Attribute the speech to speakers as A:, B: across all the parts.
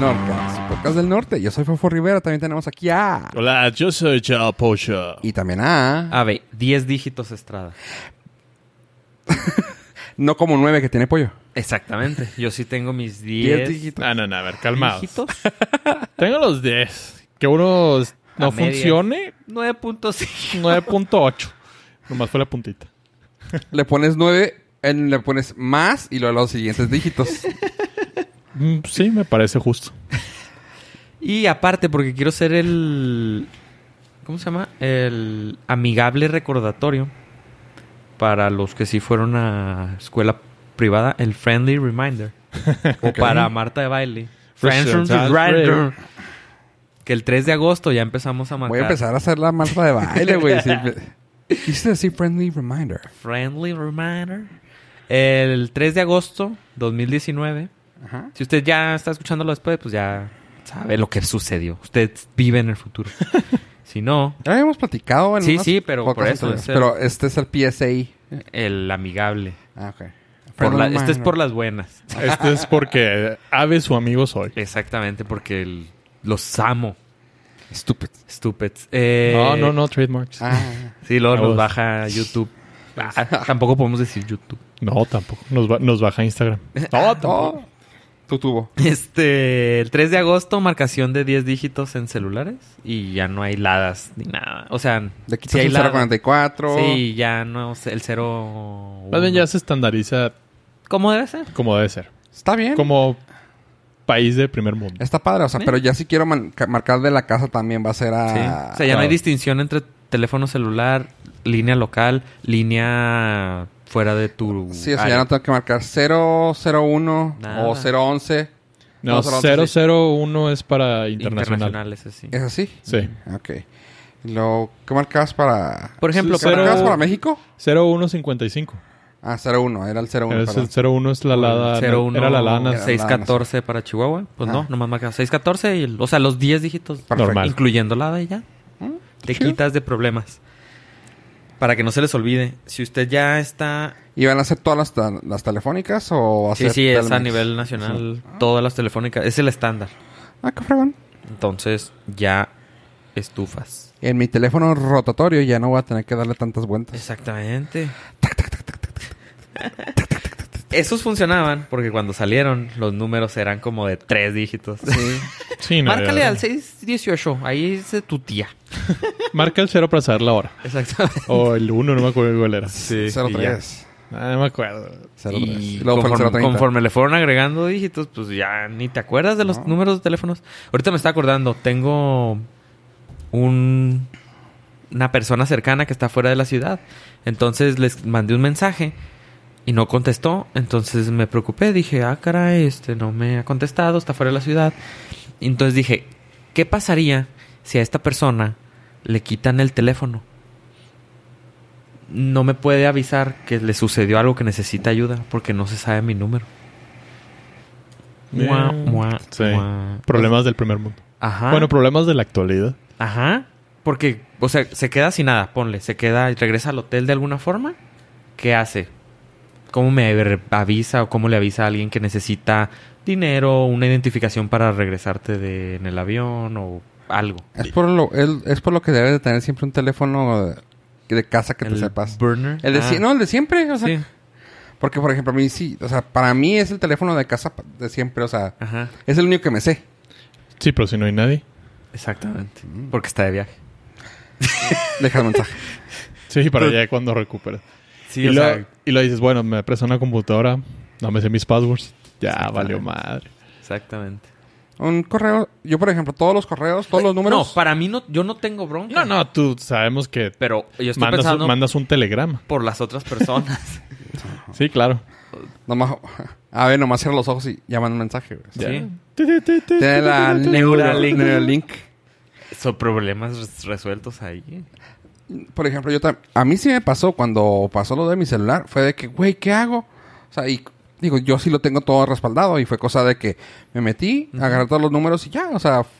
A: pues, Locas del Norte. Yo soy Fofo Rivera. También tenemos aquí a.
B: Hola, yo soy Chapocha.
A: Y también a.
C: Ave, 10 Ah, dígitos Estrada.
A: No como nueve que tiene pollo.
C: Exactamente. Yo sí tengo mis
A: 10
C: 10
A: dígitos.
B: Ah, no, no, a ver, calmados.
C: dígitos.
B: Tengo los 10. Que uno no
C: A medias.
B: funcione,
C: 9.5.
B: 9.8. Nomás fue la puntita.
A: Le pones nueve, en- le pones más y luego los siguientes dígitos.
B: Mm, Sí, me parece justo.
C: Y aparte, porque quiero ser el. ¿Cómo se llama? El amigable recordatorio para los que sí fueron a escuela privada, el friendly reminder. O para Marta de baile. Friendly
B: Friendly
C: reminder. Que el 3 de agosto ya empezamos a marcar.
A: Voy a empezar a hacer la marcha de baile, güey. sí. Quise decir friendly reminder.
C: Friendly reminder. El 3 de agosto 2019.
A: Ajá.
C: Si usted ya está escuchándolo después, pues ya sabe lo que sucedió. Usted vive en el futuro. si no,
A: Ya habíamos platicado en
C: Sí,
A: unos
C: sí, pero por
A: podcasts
C: eso
A: anteriores.
C: es el-
A: Pero este es el PSI.
C: el amigable.
A: Ah, ok.
C: Por
A: Friendly
C: la- este es
A: reminder.
C: por las buenas.
B: Este es porque Ave su amigo soy.
C: Exactamente, porque el- los amo.
A: Stupid.
C: Stupids. Eh,
B: No, no, no, trademarks.
A: Ah,
C: Sí, luego
B: A
C: nos
B: vos.
C: baja YouTube. Ah, tampoco podemos decir YouTube.
B: No, tampoco. Nos, ba- nos baja Instagram. No, tampoco.
A: oh, tu tubo.
C: Este, el 3 de agosto, marcación de 10 dígitos en celulares. Y ya no hay ladas ni nada. O sea,
A: Le quitas
C: sí hay
A: el
C: ladas.
A: 044.
C: Sí, ya no sé, el 0.
B: Más bien ya se estandariza
C: ¿Cómo debe ser?
B: como debe ser.
A: Está bien.
B: Como país de primer mundo.
A: Está padre, o sea,
C: ¿Eh?
A: pero ya si quiero man- ca- marcar de la casa también va a ser
C: Sí.
A: a...
C: o sea,
B: Ah,
C: ya no hay
B: claro.
C: distinción entre teléfono celular, línea local, línea fuera de tu.
A: Sí, o sea,
C: área.
A: ya no tengo que marcar 001
C: Nada.
A: o 011.
B: No,
A: No, solo once,
B: 001 es para internacional.
C: internacional. ese sí.
A: ¿Es así?
B: Sí.
A: Ok. Lo, ¿Qué marcabas para...?
C: Por ejemplo,
A: ¿Qué
B: Cero-
A: marcabas para México?
B: 0155.
A: Ah, 01. Era el 01,
B: Era
A: perdón.
B: el 01 es la lada. era la lana.
C: 614 para Chihuahua. Pues no,
A: Ah.
C: nomás marca 614 y, el- o sea, los 10 dígitos,
A: Perfecto.
B: Normal.
C: incluyendo la de ya. Te
A: Mm, chido.
C: quitas de problemas. Para que no se les olvide, si usted ya está
A: ¿Y van a ser todas las, ta- las telefónicas o va a
C: Sí,
A: ser
C: sí, es a
A: Telmex?
C: nivel nacional, todas las telefónicas, es el estándar.
A: Ah, qué fregón.
C: Entonces, ya estufas.
A: En mi teléfono rotatorio ya no voy a tener que darle tantas
C: Pues,
A: vueltas.
C: Exactamente. Esos funcionaban porque cuando salieron los números eran como de tres dígitos.
A: Sí.
B: Sí, no,
C: Márcale
B: ya-
C: al 618, ahí es tu tía.
B: Marca el 0 para saber la hora.
C: Exactamente.
B: O el 1, no me acuerdo cuál era.
C: Sí.
A: 03.
B: Ah, no me acuerdo.
A: 03.
C: Y
A: Luego fue el
C: conforme,
A: 030.
C: conforme le fueron agregando dígitos, pues ya ni te acuerdas de los
A: No.
C: números de teléfonos. Ahorita me está acordando, tengo un, una persona cercana que está fuera de la ciudad. Entonces les mandé un mensaje y no contestó. Entonces me preocupé, dije, ah, caray, este no me ha contestado, está fuera de la ciudad. Y Entonces dije, ¿qué pasaría si a esta persona le quitan el teléfono? No me puede avisar que le sucedió algo que necesita ayuda porque no se sabe mi número. Mua,
B: Eh,
C: mua,
B: sí.
C: mua.
B: Problemas del primer mundo.
C: Ajá.
B: Bueno, problemas de la actualidad.
C: Ajá. Porque, o sea, se queda sin nada, ponle. Se queda y regresa al hotel de alguna forma. ¿Qué hace? ¿Cómo me re- avisa o cómo le avisa a alguien que necesita dinero, una identificación para regresarte de, en el avión o algo?
A: Es por, lo, el- es por lo que debes de tener siempre un teléfono de, de casa que te
C: El
A: sepas.
C: burner.
A: El de,
C: Ah,
A: sie- No, el de siempre. O sea,
C: sí.
A: Porque, por ejemplo, a mí sí. O sea, para mí es el teléfono de casa pa- de siempre. O sea,
C: Ajá.
A: es el único que me sé.
B: Sí, pero si no hay nadie.
C: Exactamente.
A: Mm.
C: Porque está de viaje.
A: Deja el mensaje.
B: Sí, para allá cuando recuperas.
C: Pues- Sí,
B: y,
C: o
B: lo,
C: sea,
B: y lo dices, bueno, me presta una computadora, no me sé mis passwords. Ya, valió madre.
C: exactamente.
A: Un correo. Yo, por ejemplo, todos los correos, todos los números.
C: No, para mí no, yo no tengo bronca.
B: No, no, tú sabemos que
C: Pero yo estoy
B: mandas,
C: pensando
B: un, mandas un telegrama.
C: por las otras personas.
B: Sí, claro.
A: Nomás, a ver, nomás cierra los ojos y llama un mensaje. güey.
B: Ya.
C: Sí.
B: Ti, ti, ti, ti,
A: Tiene
B: ti,
A: la
B: ti, ti, ti.
A: Neuralink.
C: Neuralink.
A: Neuralink.
C: Son problemas res- resueltos ahí.
A: Por ejemplo, yo tam- a mí sí me pasó cuando pasó lo de mi celular. Fue de que, güey, ¿qué hago? O sea, y digo, yo sí lo tengo todo respaldado. Y fue cosa de que me metí, agarré todos los números y ya. O sea, f-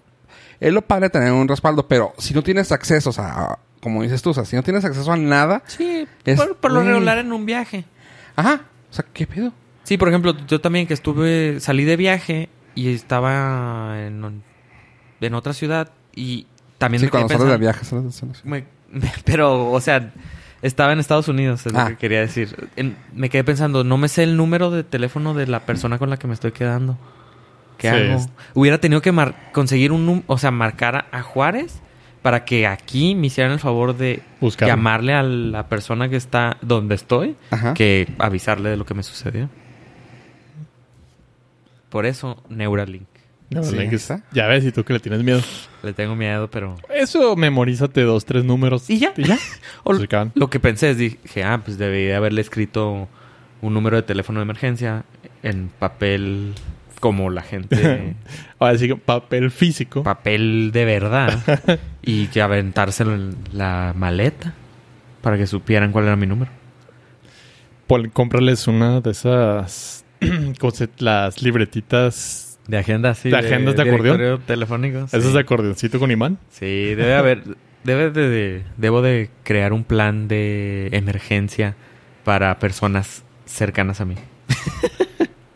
A: es lo padre tener un respaldo. Pero si no tienes acceso, o sea, a- como dices tú, o sea, si no tienes acceso a nada,
C: Sí,
A: Es-
C: por, por lo
A: güey.
C: regular en un viaje.
A: ajá. O sea, ¿qué pedo?
C: Sí, por ejemplo, yo también que estuve, salí de viaje y estaba en, en otra ciudad y también
A: Sí,
C: me quedé
A: cuando sales de
C: pensando-
A: viaje. sales de- sales de-
C: me- pero, o sea, estaba en Estados Unidos, es
A: Ah.
C: lo que quería decir. En- me quedé pensando, no me sé el número de teléfono de la persona con la que me estoy quedando. ¿Qué
B: Sí,
C: hago?
B: es-
C: Hubiera tenido que mar- conseguir un... num- O sea, marcar a, a Juárez para que aquí me hicieran el favor de
B: Buscarlo.
C: llamarle a la persona que está donde estoy
A: Ajá.
C: que avisarle de lo que me sucedió. Por eso, Neuralink.
B: La
A: Sí,
B: verdad
A: ahí
B: que-
A: está.
B: Ya ves, y tú que le tienes miedo.
C: Le tengo miedo, pero...
B: Eso, memorízate dos, tres números.
C: Y ya.
B: Y ya.
C: O-
B: Se acaban.
C: Lo que pensé es, dije, ah, pues debería haberle escrito un número de teléfono de emergencia en papel como la gente,
B: Ahora sí, que papel físico.
C: papel de verdad, y que aventárselo en la maleta para que supieran cuál era mi número.
B: Pon- cómprales una de esas. cose- las libretitas.
C: De agenda, sí.
B: ¿De agendas de acordeón?
C: directorio telefónico. sí.
B: Esas de acordeoncito con imán.
C: Sí, debe haber, debe de, de- debo de crear un plan de emergencia para personas cercanas a mí.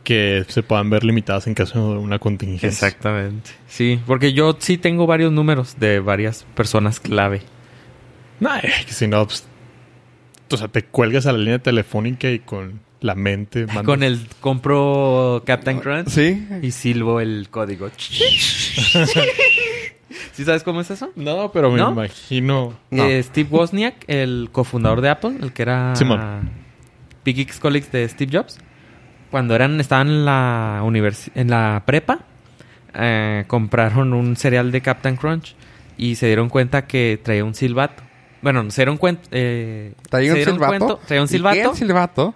B: Que se puedan ver limitadas en caso de una contingencia.
C: Exactamente. Sí, porque yo sí tengo varios números de varias personas clave.
B: Nah, eh, que si no, pues, o sea, te cuelgas a la línea telefónica y con la mente. mandas-
C: Ah, Con el compro Captain Crunch
A: Sí.
C: y silbo el código. ¿Sí sabes cómo es eso?
B: No, pero me
C: ¿No?
B: imagino.
A: No.
C: Eh, Steve Wozniak, el cofundador de Apple, el que era
B: Simón.
C: Big X Colleagues de Steve Jobs, cuando eran estaban en la universi- en la prepa, eh, compraron un cereal de Captain Crunch y se dieron cuenta que traía un silbato. Bueno, se dieron cuenta. Eh,
A: Traía
C: se
A: un
C: dieron
A: silbato.
C: cuenta- traía un
A: ¿Y qué era
C: silbato.
A: el silbato?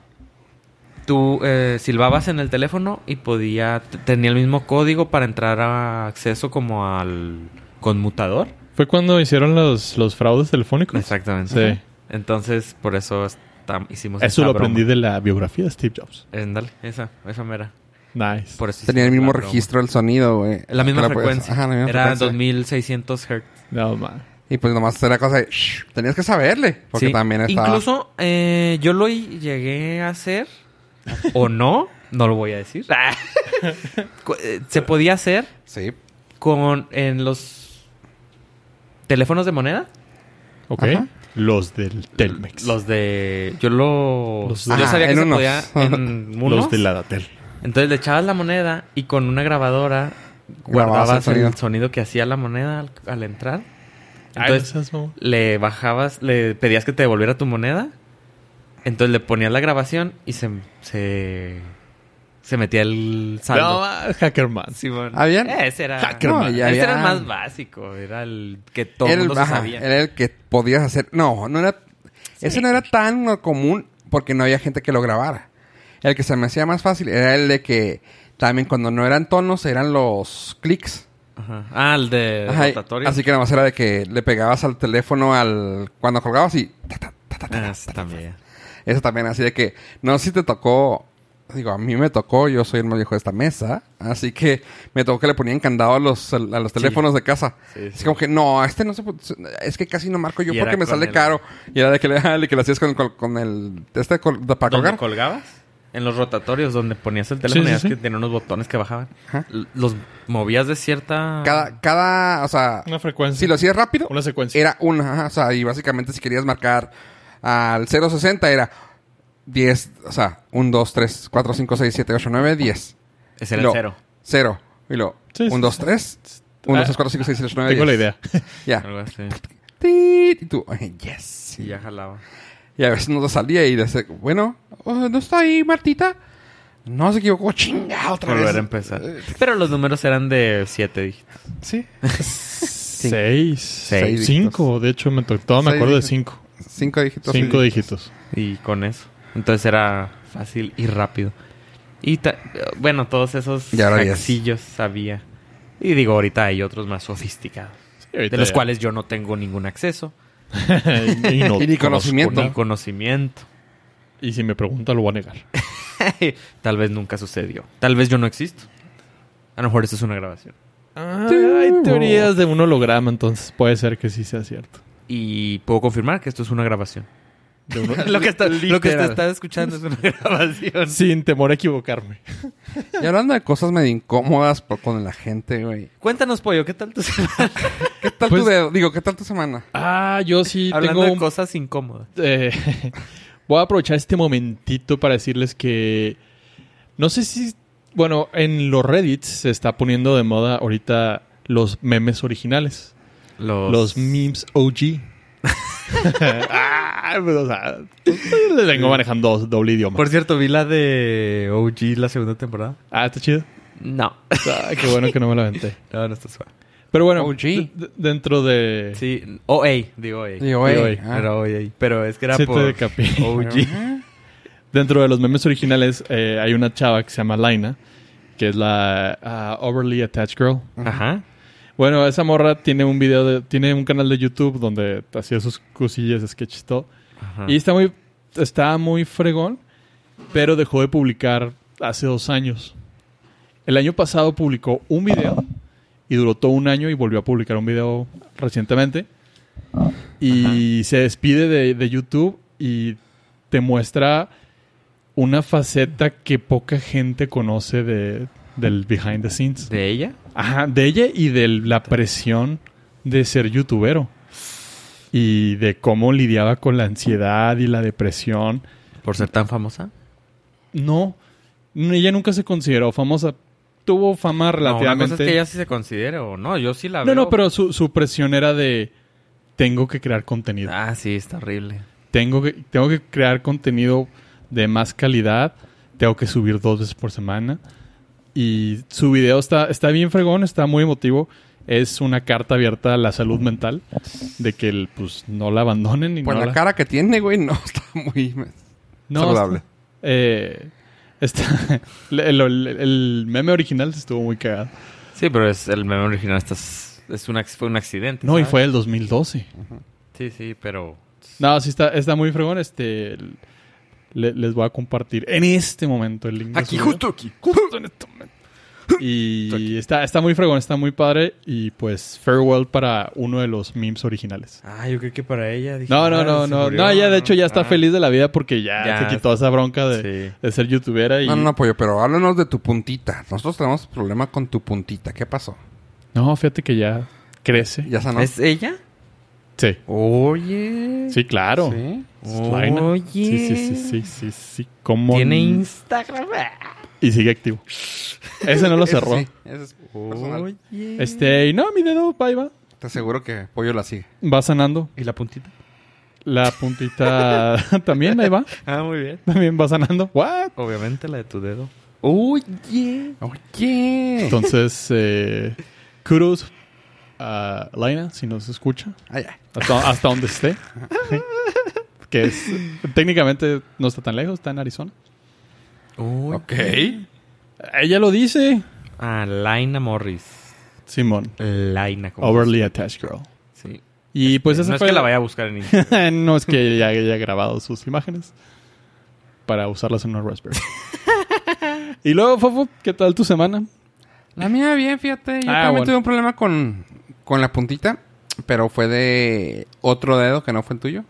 C: Tú eh, silbabas en el teléfono y podía t- tenía el mismo código para entrar a acceso como al conmutador.
B: Fue cuando hicieron los, los fraudes telefónicos.
C: Exactamente.
B: Sí.
C: Entonces, por eso está- hicimos Eh,
B: Eso lo aprendí de la biografía de Steve Jobs.
C: Dale, esa, esa mera.
B: Nice.
C: Por eso
A: Tenía el
C: hicimos
A: mismo
C: la broma.
A: registro del sonido, güey.
C: La misma
A: Era, pues,
C: frecuencia.
A: ajá, la misma
C: Era
A: frecuencia.
C: 2600 Hz.
B: No, man.
A: Y pues nomás era cosa de... "Shh", Tenías que saberle. Porque
C: Sí.
A: también estaba...
C: Incluso eh, yo lo hi- llegué a hacer, o no, no lo voy a decir.
A: Ah.
C: Cu- eh, Se podía hacer
A: Sí.
C: con en los teléfonos de moneda.
B: Ok.
A: Ajá.
B: Los del Telmex.
C: Los de. Yo lo.
B: Los-
C: yo
B: Ajá,
C: sabía que
A: en
C: se
A: unos.
C: podía en unos.
B: Los de la Datel.
C: Entonces le echabas la moneda y con una grabadora guardabas
A: el
C: el
A: sonido.
C: sonido que hacía la moneda al, al entrar.
B: Ay, no
C: Entonces
B: seas mamón.
C: le bajabas, le pedías que te devolviera tu moneda. Entonces le ponías la grabación y se, se, se metía el
B: No,
C: saldo.
B: man, Hackerman.
C: Simón.
A: Ah, bien.
C: Ese era,
A: Hackerman.
C: ese
A: No, ya
C: este era el
A: habían-
C: más básico. Era el que todo el
A: era,
C: mundo
A: el,
C: se
A: ajá,
C: sabía.
A: era el que podías hacer. No, no era. Ese no era tan común porque no había gente que lo grabara. El que se me hacía más fácil era el de que también cuando no eran tonos eran los clics.
C: Ajá. Ah, el de
A: Ajá, y-
C: rotatorio.
A: Así que nada más era de que le pegabas al teléfono al cuando colgabas y ta, ta, ta, ta, ta.
C: Ah, sí, también.
A: eso también así de que no sé si te tocó digo a mí me tocó yo soy el más viejo de esta mesa así que me tocó que le ponían candado a los a los teléfonos de casa
C: Sí,
A: es
C: sí.
A: como que no a este no se pu- es que casi no marco yo
C: Y
A: porque
C: era
A: me
C: con
A: sale
C: el-
A: caro y era de que le, ah, le- que lo hacías con, con, con el este col- de- para
C: ¿Dónde
A: colgar
C: colgabas? En los rotatorios donde ponías el teléfono
B: Sí, sí,
C: y veías
B: sí.
C: que tenía unos botones que bajaban.
A: Ajá.
C: L- Los movías de cierta...
A: cada cada o sea
B: Una frecuencia.
A: si lo hacías rápido
B: Una secuencia.
A: era una ajá, o sea y básicamente si querías marcar al 060 era 10 o sea 1 2 3 4 5 6 7 8 9 10
C: Ese era
A: Lo-
C: el cero.
A: Cero. Y luego,
B: Sí, sí,
A: 1, 2, 3. 1,
B: Ah,
A: 2, 3, 4, 5, 6, 7, 8, 9,
B: Tengo la idea.
A: Ya.
C: Algo así.
A: Tit, Y tú, ay, yes.
C: Y ya jalaba.
A: Y a veces no te salía y dices, bueno, oh, ¿no está ahí Martita? No, se equivocó. Chinga, otra
C: Volver
A: vez. Eh,
C: a empezar. Pero los números eran de siete dígitos.
A: Sí.
B: Seis.
A: Seis
B: Cinco. De hecho, me to- todo me
A: Seis
B: acuerdo de
A: dígitos.
B: cinco.
A: Cinco dígitos.
B: Cinco
A: sí.
B: dígitos.
C: Y con eso. Entonces era fácil y rápido. Y ta- bueno, todos esos
A: Y ahora diez.
C: hacillos sabía. Y digo, ahorita hay otros más sofisticados.
B: Sí, ahorita
C: De los
B: ya.
C: cuales yo no tengo ningún acceso.
B: y, no
A: Y ni
B: conozco
A: conocimiento.
C: Ni
B: nada.
C: conocimiento.
B: Y si me pregunta, lo voy a negar.
C: Tal vez nunca sucedió. Tal vez yo no existo. A lo mejor eso es una grabación.
B: Ah, hay teorías de un holograma, entonces puede ser que sí sea cierto.
C: Y puedo confirmar que esto es una grabación.
B: de uno-
C: lo, que está, lo que te
D: Literal.
C: estás escuchando es una grabación.
B: sin temor a equivocarme.
A: Y hablando de cosas medio incómodas por- con la gente, güey.
C: Cuéntanos, Pollo, ¿qué tal tu semana?
A: ¿Qué tal
B: Pues-
A: tu dedo? Digo, ¿qué tal tu semana?
B: Ah, yo sí
C: Hablando
B: tengo
C: de cosas incómodas.
B: Eh, voy a aprovechar este momentito para decirles que no sé si, bueno, en los Reddit se está poniendo de moda ahorita los memes originales,
C: Los,
B: los memes OG. Ah, pues, o sea, les vengo manejando dos- doble idioma.
C: Por cierto, vi la de OG la segunda temporada.
B: Ah, está chido.
C: No.
B: Ah, qué bueno que no me lo aventé.
C: No, no está suave.
B: Pero bueno,
A: OG.
B: d- d- dentro de...
C: Sí, OA, digo OA.
A: Digo, güey.
B: güey,
A: ah.
C: Era OA, pero es que era
B: Sí te
C: por
B: capí.
C: OG.
A: Ajá.
B: Dentro de los memes originales eh, hay una chava que se llama Laina, que es la ah, Overly Attached Girl.
C: Ajá.
B: Bueno, esa morra tiene un video, de- tiene un canal de YouTube donde hacía sus cosillas, sketches, todo.
C: Ajá.
B: Y está muy, está muy fregón, pero dejó de publicar hace dos años. El año pasado publicó un video y duró todo un año y volvió a publicar un video recientemente. Y se despide de, de YouTube y te muestra una faceta que poca gente conoce de, del behind the scenes.
C: ¿De ella?
B: Ajá, de ella y de la presión de ser youtubero. Y de cómo lidiaba con la ansiedad y la depresión.
C: ¿Por ser tan famosa?
B: No, ella nunca se consideró famosa. Tuvo fama
C: No, una cosa
B: relativamente.
C: es que ella sí se considere o no. Yo sí la
B: no,
C: veo.
B: no, pero su, su presión era de tengo que crear contenido.
C: Ah, sí, está horrible.
B: Tengo que, tengo que crear contenido de más calidad. Tengo que subir dos veces por semana. Y su video está, está bien fregón, está muy emotivo. Es una carta abierta a la salud mental. De que el, pues, no la abandonen. Y
A: Pues
B: no
A: la cara que tiene, güey, no está muy
B: no,
A: saludable.
B: está- eh, está- el, el- el meme original estuvo muy cagado.
C: Sí, pero es el meme original está, es un, ac- fue un accidente.
B: No, y
C: ¿sabes?
B: fue el 2012.
C: Sí, sí, pero...
B: No, sí está, está muy fregón. Este, le- les voy a compartir en este momento el link. de su video.
C: aquí.
B: Justo en este momento. Y está, está muy fregón, está muy padre. Y pues, farewell para uno de los memes originales.
C: Ah, yo creo que para ella. dije,
B: No, no,
C: ah,
B: no,
C: se
B: no.
C: murió.
B: No, ella de hecho ya está
C: Ah,
B: feliz de la vida porque ya,
C: Ya.
B: se quitó esa bronca de,
C: Sí.
B: de ser youtubera. Y...
A: No, no, no, pollo, pero háblanos de tu puntita. Nosotros tenemos problema con tu puntita. ¿Qué pasó?
B: No, fíjate que ya crece.
A: ¿Ya sanó?
C: ¿Es ella?
B: Sí,
C: Oye.
B: sí, claro.
A: ¿Sí?
B: Slaina.
C: Oye.
B: Sí, sí, sí, sí, sí, sí. ¿Cómo
C: Tiene
B: n-
C: Instagram.
B: Y sigue activo. Ese no lo
A: Ese
B: cerró.
A: sí, ese es personal.
C: Oye.
B: Este, y no, mi dedo, ahí va.
A: Te aseguro que Pollo la sigue.
B: Va sanando.
C: ¿Y la puntita?
B: La puntita también, ahí va.
C: Ah, muy bien.
B: También va sanando. What?
C: Obviamente la de tu dedo.
A: Oye. Oye.
B: Entonces, eh, kudos a Laina, si nos escucha,
A: Ay, ay.
B: hasta, hasta donde esté. que es, técnicamente no está tan lejos, está en Arizona.
C: Uy.
A: Ok.
B: Ella lo dice.
C: Ah, Laina Morris.
B: Simón,
C: Laina. como
B: overly attached girl.
C: se dice. Sí.
B: Y pues esa
C: Este, no es
B: fue
C: que la vaya a buscar en Instagram.
B: no es que ella haya grabado sus imágenes para usarlas en una Raspberry. y luego, Fofo, ¿qué tal tu semana?
A: La mía bien, fíjate. Yo también
B: Ah, bueno.
A: tuve un problema con, con la puntita, pero fue de otro dedo que no fue el tuyo.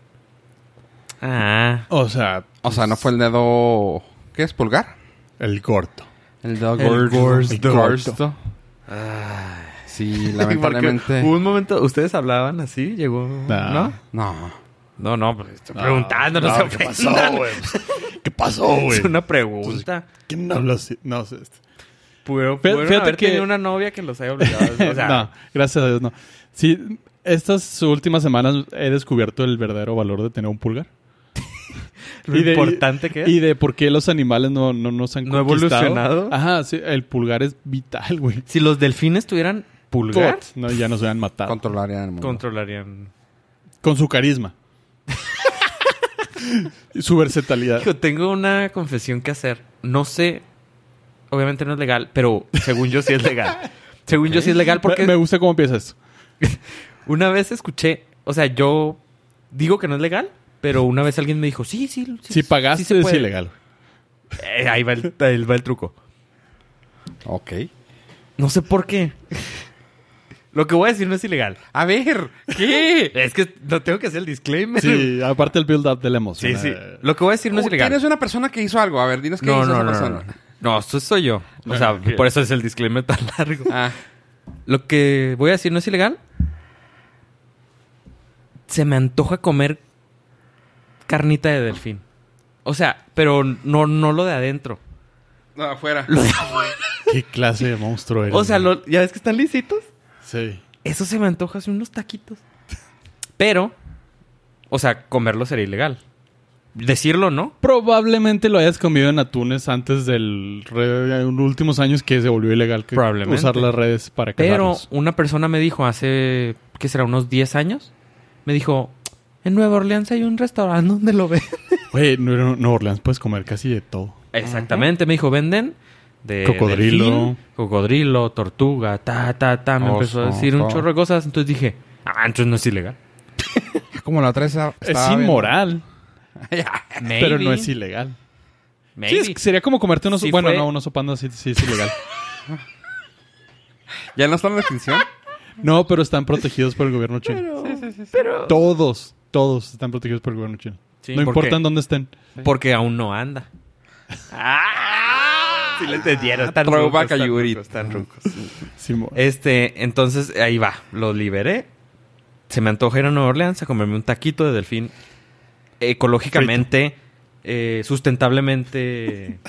C: ah.
B: O sea,
A: O sea, no fue el dedo... ¿Qué es? ¿Pulgar?
B: el corto.
A: El dedo
C: El
A: gordo. El
B: gordo.
A: gordo. Sí, lamentablemente...
C: Porque hubo un momento, ustedes hablaban así, llegó.
B: Nah.
C: ¿No?
A: No.
C: No, no, pues estoy preguntando, no, se
B: Ah, ¿Qué pasó,
C: ofendan.
B: güey? ¿Qué pasó, güey?
C: Es una pregunta.
B: ¿Quién habla así? No, este. sé.
C: Pudieron,
B: Fe-
C: pudieron
B: fíjate
C: haber
B: que-
C: tenido una novia que los haya obligado. O sea,
B: no, gracias a Dios, no. Sí, estas últimas semanas he descubierto el verdadero valor de tener un pulgar.
C: lo
B: Y de-
C: importante que es.
B: Y de por qué los animales no, no nos han
C: ¿No ha
B: conquistado.
C: evolucionado?
B: Ajá, sí, el pulgar es vital, güey.
C: si los delfines tuvieran pulgar,
B: No, ya nos habían matado. Con,
A: Controlarían el mundo.
C: controlarían.
B: su carisma. Y su versatilidad.
C: Hijo, tengo una confesión que hacer. No sé, obviamente no es legal, pero según yo sí es legal. según yo sí es legal porque
B: Me, me gusta cómo piensas.
C: una vez escuché, o sea, yo digo que no es legal, pero una vez alguien me dijo, sí, sí, sí.
B: Si pagaste,
C: sí se
B: es
C: puede".
B: ilegal.
C: Eh, ahí, va el, ahí va el truco.
A: Ok.
C: No sé por qué. Lo que voy a decir no es ilegal.
A: A ver, ¿qué?
C: Es que no tengo que hacer el disclaimer.
B: Sí, aparte el build-up de la emoción.
C: sí. sí.
B: Eh,
C: Lo que voy a decir no es ilegal.
A: ¿Quién es una persona Uh, que hizo algo? A ver, dinos qué
C: No,
A: hizo
C: no,
A: esa
C: no, no,
A: persona.
C: no. No, eso soy yo. O sea,
B: Ah, ok.
C: por eso es el disclaimer tan largo.
A: Ah,
C: Lo que voy a decir no es ilegal. Se me antoja comer carnita de delfín. O sea, pero no, no lo de adentro.
A: no, afuera.
C: Lo de afuera.
B: ¿Qué clase de monstruo eres?
C: O sea,
B: güey?
C: lo- ya ves que están lisitos.
B: Sí.
C: Eso se me antoja, son unos taquitos. Pero, o sea, comerlo sería ilegal. Decirlo, ¿no?
B: Probablemente lo hayas comido en atunes antes del... re- en los últimos años que se volvió ilegal que-
C: Probablemente.
B: usar las redes para
C: Pero
B: cazarlos.
C: una persona me dijo hace, ¿qué será? Unos 10 años. Me dijo, en Nueva Orleans hay un restaurante donde lo ven.
B: Güey, en Nueva Nueva Orleans puedes comer casi de todo.
C: Exactamente, me dijo, venden de
B: Cocodrilo.
C: delfín, cocodrilo, tortuga, ta, ta, ta. Me
A: Oso,
C: empezó a decir un
A: todo.
C: chorro de cosas. Entonces dije, ah, entonces no es ilegal.
A: Es como la otra vez estaba
B: es
A: viendo.
B: inmoral, pero no es
C: ilegal.
B: ilegal. Sí, es- sería como comerte unos...
C: Sí
B: bueno,
C: fue-
B: no, unos panda sí, sí es ilegal.
A: ¿Ya no está en la extinción?
B: no, pero están protegidos por el gobierno chino. Todos, todos están protegidos por el gobierno chino.
C: Sí,
B: no
C: ¿por
B: importa
C: qué?
B: en dónde estén.
C: Porque aún no anda. Si lo entendieron. Están
A: Ah. Throwback
C: rucos,
A: a
C: están
A: Yuri.
C: rucos, están rucos.
B: Simón.
C: Este, entonces ahí va. Lo liberé. Se me antoja ir a Nueva Orleans a comerme un taquito de delfín ecológicamente, eh, sustentablemente.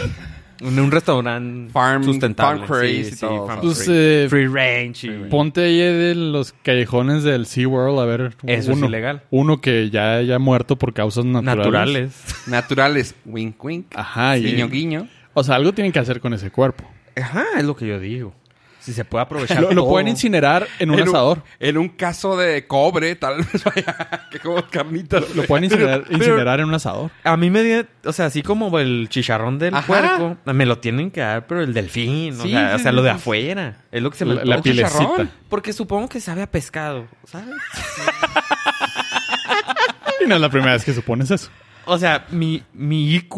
C: En un restaurante
A: Farm-
C: sustentable.
A: farm crazy
C: Sí,
A: y
C: sí,
A: todo,
C: farm
A: o
B: Pues,
A: sea.
C: free.
B: eh,
C: Free range. y-
B: ponte ahí de los callejones del SeaWorld a ver
C: Eso es
B: uno.
C: ilegal.
B: Uno que ya haya muerto por causas naturales.
C: naturales.
A: Naturales. Wink, wink.
B: Ajá. y-
A: guiño, guiño.
B: O sea, algo tienen que hacer con ese cuerpo.
C: Ajá, es lo que yo digo. Si se puede aprovechar.
B: Lo, lo
C: todo.
B: pueden incinerar en un
A: En
B: asador.
A: En un caso de cobre, tal vez vaya. Que como carnitas. eh,
B: Lo pueden incinerar, incinerar en un asador.
C: A mí me dio, o sea, así como el chicharrón del
A: Ajá.
C: puerco, me lo tienen que dar, pero el delfín, o
A: Sí,
C: sea, o
A: sí,
C: sea,
A: sí,
C: lo de
A: sí.
C: afuera, es lo que se me
B: La, la
C: antoja.
A: piel. chicharrón.
B: pilecita.
C: Porque supongo que sabe a pescado, ¿sabes?
B: Y no es la primera vez que supones eso.
C: O sea, mi, mi IQ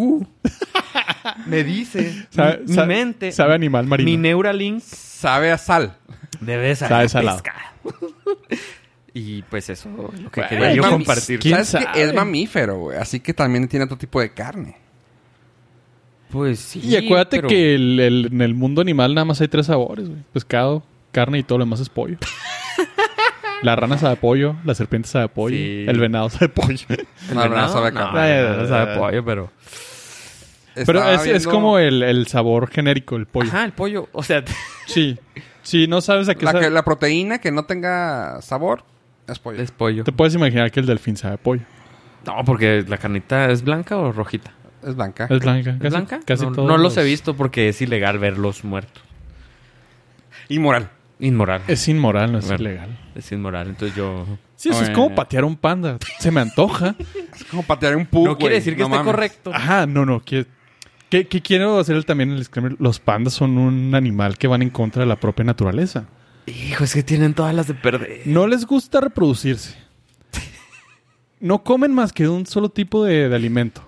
C: me dice,
B: Sabe-
C: mi, mi
B: sabe-
C: mente,
B: sabe animal marino.
C: mi Neuralink
A: Sabe a sal.
C: debe
B: Sabe
C: saber a
B: salado.
C: pescado. y pues eso es lo que
B: Bueno,
C: quería yo
A: mami,
C: compartir.
B: ¿quién
A: ¿Sabes qué?
B: sabe?
A: Es mamífero, güey. Así que también tiene otro tipo de carne.
C: Pues sí.
B: Y acuérdate
C: pero-
B: que el- el- en el mundo animal nada más hay tres sabores, güey. Pescado, carne y todo lo demás es pollo. la rana sabe a pollo, la serpiente sabe a pollo,
C: Sí.
B: el venado sabe a pollo.
C: ¿El
A: No, no,
C: venado?
A: sabe a
C: no,
A: carne.
B: Eh,
C: el venado sabe a pollo, pero...
B: Pero
A: Estaba
B: es, es
A: viendo
B: como el, el sabor genérico, el pollo.
C: Ajá, el pollo, o sea...
B: Sí. Si no sabes a qué
A: La, que-
B: sabe,
A: la proteína que no tenga sabor es pollo.
C: Es pollo.
B: te puedes imaginar que el delfín sabe a pollo.
C: No, porque la carnita es blanca o rojita.
A: Es blanca.
B: Ah. Es blanca.
C: ¿Es
B: casi-
C: blanca?
B: Casi
C: no,
B: todos
C: no
B: los-
C: los... he visto porque es ilegal verlos muertos.
A: Inmoral.
C: Inmoral. Es,
B: Es inmoral, no es
C: Bueno.
B: ilegal.
C: inmoral. Entonces yo.
B: Sí, eso es
A: Bueno.
B: como patear un panda. Se me antoja.
A: Es como patear un pug,
C: no Ah, quiere
A: güey.
C: decir que
A: No
C: esté
A: mames.
C: correcto.
B: Ajá, no, no. Que, que- que quiero hacer el- también el disclaimer. Los pandas son un animal que van en contra de la propia naturaleza.
C: Hijo, es que tienen todas las de perder.
B: No les gusta reproducirse. No comen más que de un solo tipo de, de alimento.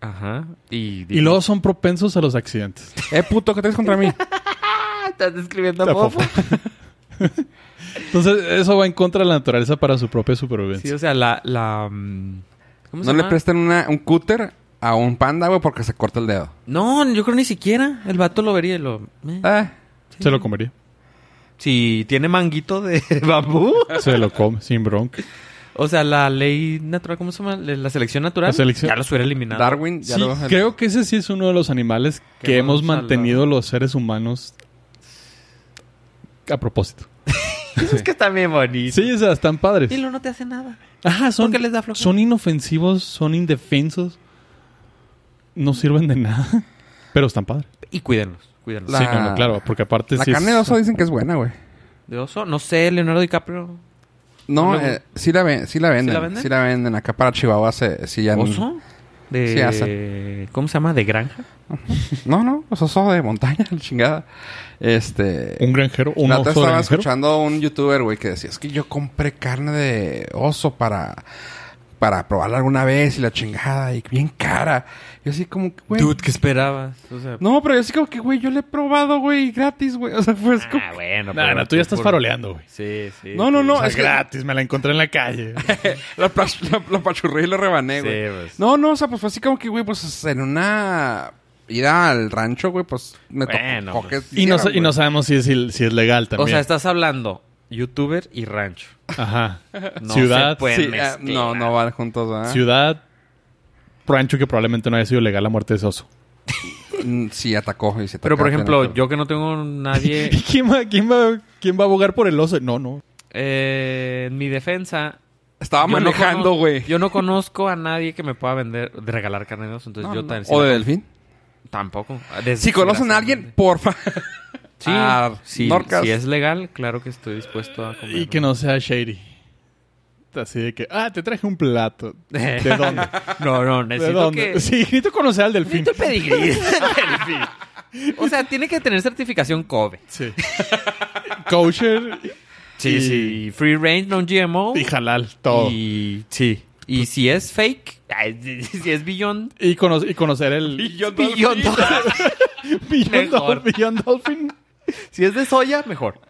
C: Ajá. Y,
B: Y luego son propensos a los accidentes.
A: Eh, puto, ¿qué tienes contra mí?
C: Ah, estás describiendo a
B: La
C: Fofo.
B: Entonces, eso va en contra de la naturaleza para su propia
C: Sí,
B: supervivencia.
C: o sea, la. la mm, ¿Cómo
A: No
C: se
A: le
C: llama?
A: presten una- un cúter a un panda, güey, porque se corta el dedo.
C: No, yo creo ni siquiera. El vato lo vería y lo. eh.
A: Ah,
B: Se lo comería.
C: Si tiene manguito de bambú.
B: Se lo come, sin bronca.
C: O sea, la ley natural, ¿cómo se llama? La selección natural.
B: La selección.
C: Ya los hubiera eliminado.
A: Darwin, ya
B: Sí,
A: lo...
B: creo que ese sí es uno de los animales que,
C: Que
B: hemos
C: vamos a la-
B: mantenido los seres humanos a propósito.
C: es que está bien bonito.
B: Sí, o sea, están padres.
C: Y luego no te hace nada.
B: Ajá, son,
C: Porque les da flojera.
B: son inofensivos, son indefensos. No sirven de nada. Pero están padres.
C: Y cuídenlos. Cuídenlos.
A: La-
B: Sí, no, no, claro, porque aparte
A: La
B: sí es-
A: carne de oso dicen que es buena, güey.
C: De oso, no sé, Leonardo DiCaprio.
A: No,
C: Luego-
A: eh, sí, la ven, sí la venden.
C: la venden?
A: Sí la venden. Acá para Chihuahua se, sí ya... han-
C: ¿Oso? De...
A: Sí,
C: ¿Cómo se llama? ¿De granja?
A: No, no. Los osos de montaña, la chingada. Este...
B: un granjero, un
A: La otra
B: oso
A: estaba
B: granjero.
A: escuchando a un youtuber, güey, que decía, es que yo compré carne de oso para para probarla alguna vez y la chingada y bien cara. Yo así como que, güey.
C: Dude, ¿qué esperabas? O sea,
A: No, pero yo así como que, güey, yo la he probado, güey, gratis, güey. O sea, fue así como...
C: ah, bueno.
B: Nah,
C: pero
B: nah, tú ya estás
C: por-
B: faroleando, güey.
C: Sí, sí.
A: No, no,
C: sí.
A: no,
B: O sea,
A: es que-
B: gratis, me la encontré en la calle.
A: La, pach- la- la pachurré y la rebané,
C: Sí,
A: güey.
C: pues.
A: No, no, o sea, pues fue así como que, güey, pues en una ida al rancho, güey, pues me tocó
C: Bueno,
A: tocó que
C: pues.
B: y, no, sa-
A: hicieran,
B: y no
A: güey.
B: sabemos si es, il- si es legal
C: O
B: también.
C: sea, estás hablando youtuber y rancho.
B: Ajá.
C: No
B: ciudad,
C: se puede.
A: Sí,
C: mezclar.
A: ah, no, no van juntos, ¿verdad?
B: ciudad, rancho que probablemente no haya sido legal la muerte de ese oso.
A: Mm, Sí, atacó. Y se
C: Pero, por
A: atacó,
C: ejemplo,
A: atacó.
C: yo que no tengo nadie...
B: ¿Y quién va, quién, va, quién va a abogar por el oso? No, no.
C: eh, en mi defensa...
A: Estaba
C: yo no
A: manejando,
C: cono-
A: güey.
C: yo no conozco a nadie que me pueda vender, de regalar carne de oso, Entonces
A: No,
C: yo
A: no,
C: tan-
A: no.
C: sí
A: ¿O
C: la
A: de
C: compro.
A: delfín?
C: Tampoco.
A: Si conocen a alguien, porfa.
C: Sí,
A: Ah,
C: sí,
A: Norcas.
C: si es legal, claro que estoy dispuesto a comer.
B: Y que no sea shady. Así de que, ah, te traje un plato. ¿De dónde?
C: No, no,
B: ¿De
C: necesito
B: dónde?
C: que...
B: Sí, necesito conocer al delfín.
C: Necesito pedigrí. o sea, tiene que tener certificación Kobe.
B: Sí. Kosher
C: Sí,
B: Y-
C: sí. Free range, non GMO.
B: y halal, todo. Y,
C: Y sí. Y si es fake, ay, si es billón,
B: cono- y conocer el...
A: yo
C: billón
B: Beyond,
C: Mejor.
B: Dol- Beyond Dolphin
C: si es de soya, mejor.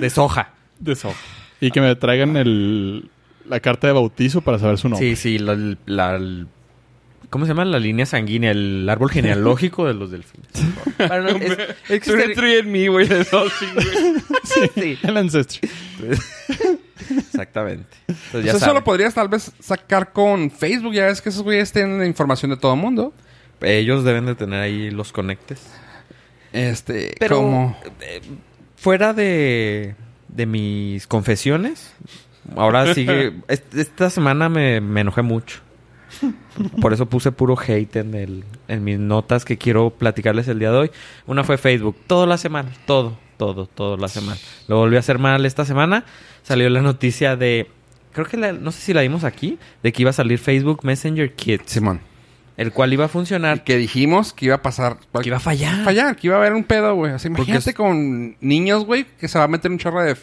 C: De soja.
B: de eso. Y que me traigan el, la carta de bautizo para saber su nombre.
C: Sí, sí, la, la- el- ¿Cómo se llama? La línea sanguínea, el árbol genealógico de los delfines. Para no- es- es que estaría-
A: en mí, güey, de Dolphin, güey.
C: sí,
B: El ancestro.
C: Exactamente. Entonces, ya
A: Eso
C: saben.
A: lo podrías tal vez sacar con Facebook. Ya ves que esos güeyes tienen la información de todo el mundo.
C: Ellos deben de tener ahí los conectes.
A: Este,
C: Pero
A: como...
C: eh, fuera de, de mis confesiones, ahora sigue... est- esta semana me, me enojé mucho. Por eso puse puro hate en, el, en mis notas que quiero platicarles el día de hoy. Una fue Facebook. Todo la semana. Todo, todo, todo la semana. Lo volví a hacer mal esta semana. Salió la noticia de... Creo que la- no sé si la vimos aquí. De que iba a salir Facebook Messenger Kids.
A: Simón.
C: El cual iba a funcionar.
A: Y que dijimos que iba a pasar...
C: Que iba a fallar.
A: Ah. fallar, que iba a haber un pedo, güey. Así,
C: Porque
A: imagínate
C: es-
A: con niños, güey, que se va a meter un chorro de,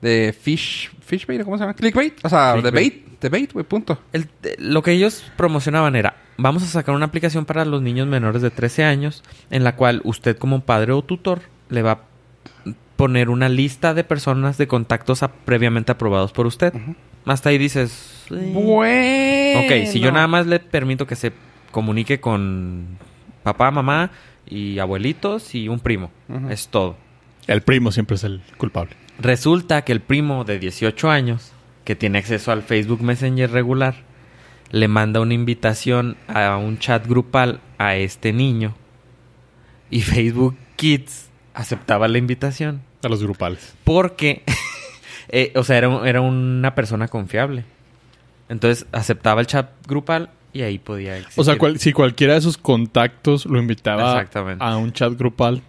A: de fish, fish bait, ¿cómo se llama? Clickbait, o sea, de
C: Clickbait.
A: bait, de bait, güey, punto.
C: El- eh, lo que ellos promocionaban era, vamos a sacar una aplicación para los niños menores de 13 años, en la cual usted como padre o tutor le va a poner una lista de personas de contactos a- previamente aprobados por usted. Hasta ahí dices, "Eh".
A: Bueno.
C: ok, si yo nada más le permito que se comunique con papá, mamá y abuelitos y un primo,
A: Ujú.
C: es todo.
B: El primo siempre es el culpable.
C: Resulta que el primo de 18 años, que tiene acceso al Facebook Messenger regular, le manda una invitación a un chat grupal a este niño. Y Facebook Kids aceptaba la invitación.
B: A los grupales.
C: Porque, eh, o sea, era, un- era una persona confiable. Entonces aceptaba el chat grupal y ahí podía existir.
B: O sea, cual- si cualquiera de sus contactos lo invitaba
C: Exactamente.
B: a un chat grupal,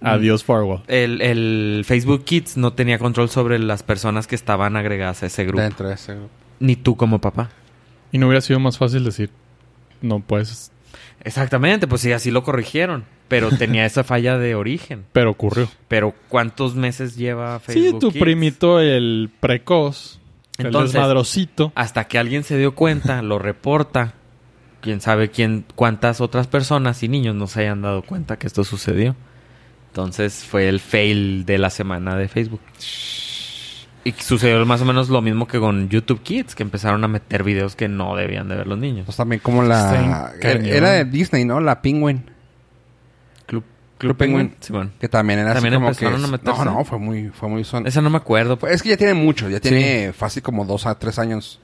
B: adiós firewall.
C: El, el Facebook Kids no tenía control sobre las personas que estaban agregadas a ese grupo.
A: Dentro de ese grupo.
C: Ni tú como papá.
B: Y no hubiera sido más fácil decir, no puedes,
C: Exactamente, pues sí, así lo corrigieron. Pero tenía esa falla de origen.
B: pero ocurrió.
C: Pero ¿cuántos meses lleva Facebook?
B: sí, tu
C: Kids?
B: primito, el precoz,
C: Entonces-
B: el desmadrosito.
C: Hasta que alguien se dio cuenta, lo reporta. Quién sabe quién, cuántas otras personas y niños no se hayan dado cuenta que esto sucedió. Entonces fue el fail de la semana de Facebook. Y sucedió más o menos lo mismo que con YouTube Kids, que empezaron a meter videos que no debían de ver los niños.
A: Pues también como la...
B: Está bien
A: Era,
B: cañón.
A: era de Disney, ¿no? La Penguin.
C: Club,
A: Club Penguin.
C: Simón.
A: Que también era
C: También
A: así como que...
C: empezaron a meterse.
A: no, no, fue muy... Fue muy son...
C: Esa no me acuerdo. pues.
A: Fue- Es que ya tiene mucho. Ya tiene fácil como dos a tres años.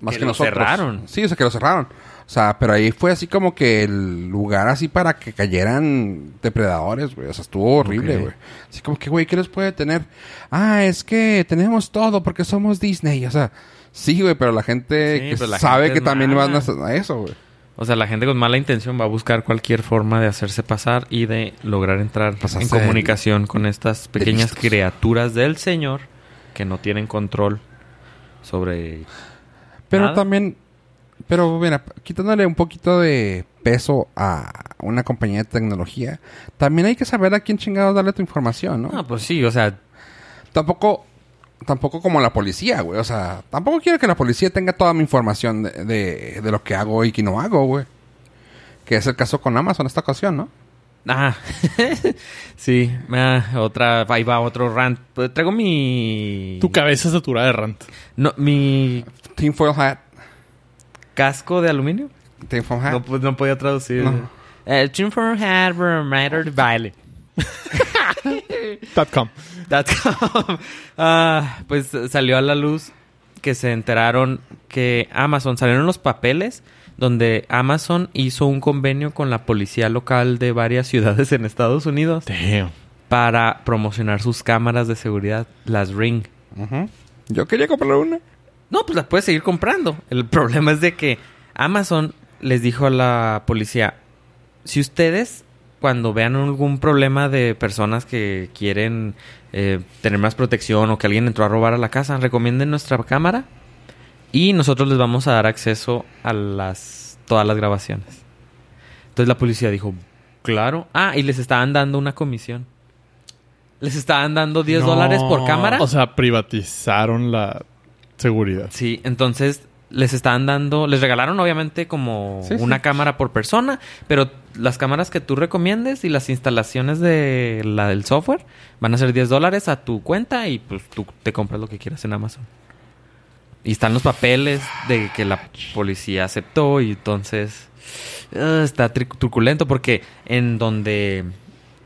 A: Más que,
C: Que lo
A: nosotros.
C: cerraron.
A: Sí, o sea, que lo cerraron. O sea, pero ahí fue así como que el lugar así para que cayeran depredadores, güey. O sea, estuvo horrible,
C: Ok.
A: güey. Así como que, güey, ¿qué les puede tener? Ah, es que tenemos todo porque somos Disney. O sea, sí, güey, pero la gente
C: Sí,
A: que
C: pero la
A: sabe
C: gente
A: que
C: es
A: también
C: mala.
A: van a a eso, güey.
C: O sea, la gente con mala intención va a buscar cualquier forma de hacerse pasar y de lograr entrar
A: Pasarse
C: en comunicación con estas pequeñas
A: listos.
C: criaturas del Señor que no tienen control sobre...
A: Pero
C: Nada.
A: también, pero mira, quitándole un poquito de peso a una compañía de tecnología, también hay que saber a quién chingados darle tu información, ¿no?
C: Ah, pues sí, o sea,
A: Tampoco tampoco como la policía, güey. O sea, tampoco quiero que la policía tenga toda mi información de, de- de lo que hago y que no hago, güey. Que es el caso con Amazon esta ocasión, ¿no?
C: Ah, sí. ah, otra, ahí va otro rant. Pues, Traigo mi...
B: Tu cabeza saturada de rant.
C: No, mi
A: Tinfoil hat.
C: casco de aluminio.
A: Tinfoil hat.
C: No, pues, no podía traducir.
A: Ah. No.
C: Eh, tune for hat, reminder de baile.
B: com.
C: Dot com. Ah, pues eh, salió a la luz que se enteraron que Amazon, salieron los papeles donde Amazon hizo un convenio con la policía local de varias ciudades en Estados Unidos
B: Damn.
C: para promocionar sus cámaras de seguridad, las Ring.
A: Ujú. Yo quería comprar una.
C: No, pues las puedes seguir comprando. El problema es de que Amazon les dijo a la policía, si ustedes cuando vean algún problema de personas que quieren eh, tener más protección o que alguien entró a robar a la casa, recomienden nuestra cámara y nosotros les vamos a dar acceso a las todas las grabaciones. Entonces la policía dijo, claro. Ah, y les estaban dando una comisión. Les estaban dando 10
B: No.
C: dólares por cámara.
B: O sea, privatizaron la seguridad.
C: Sí, entonces les estaban dando, les regalaron obviamente como
A: Sí,
C: una
A: sí.
C: cámara por persona, pero las cámaras que tú recomiendes y las instalaciones de la del software van a ser 10 dólares a tu cuenta y pues tú te compras lo que quieras en Amazon. Y están los papeles de que la policía aceptó y entonces eh, está tri- truculento porque en donde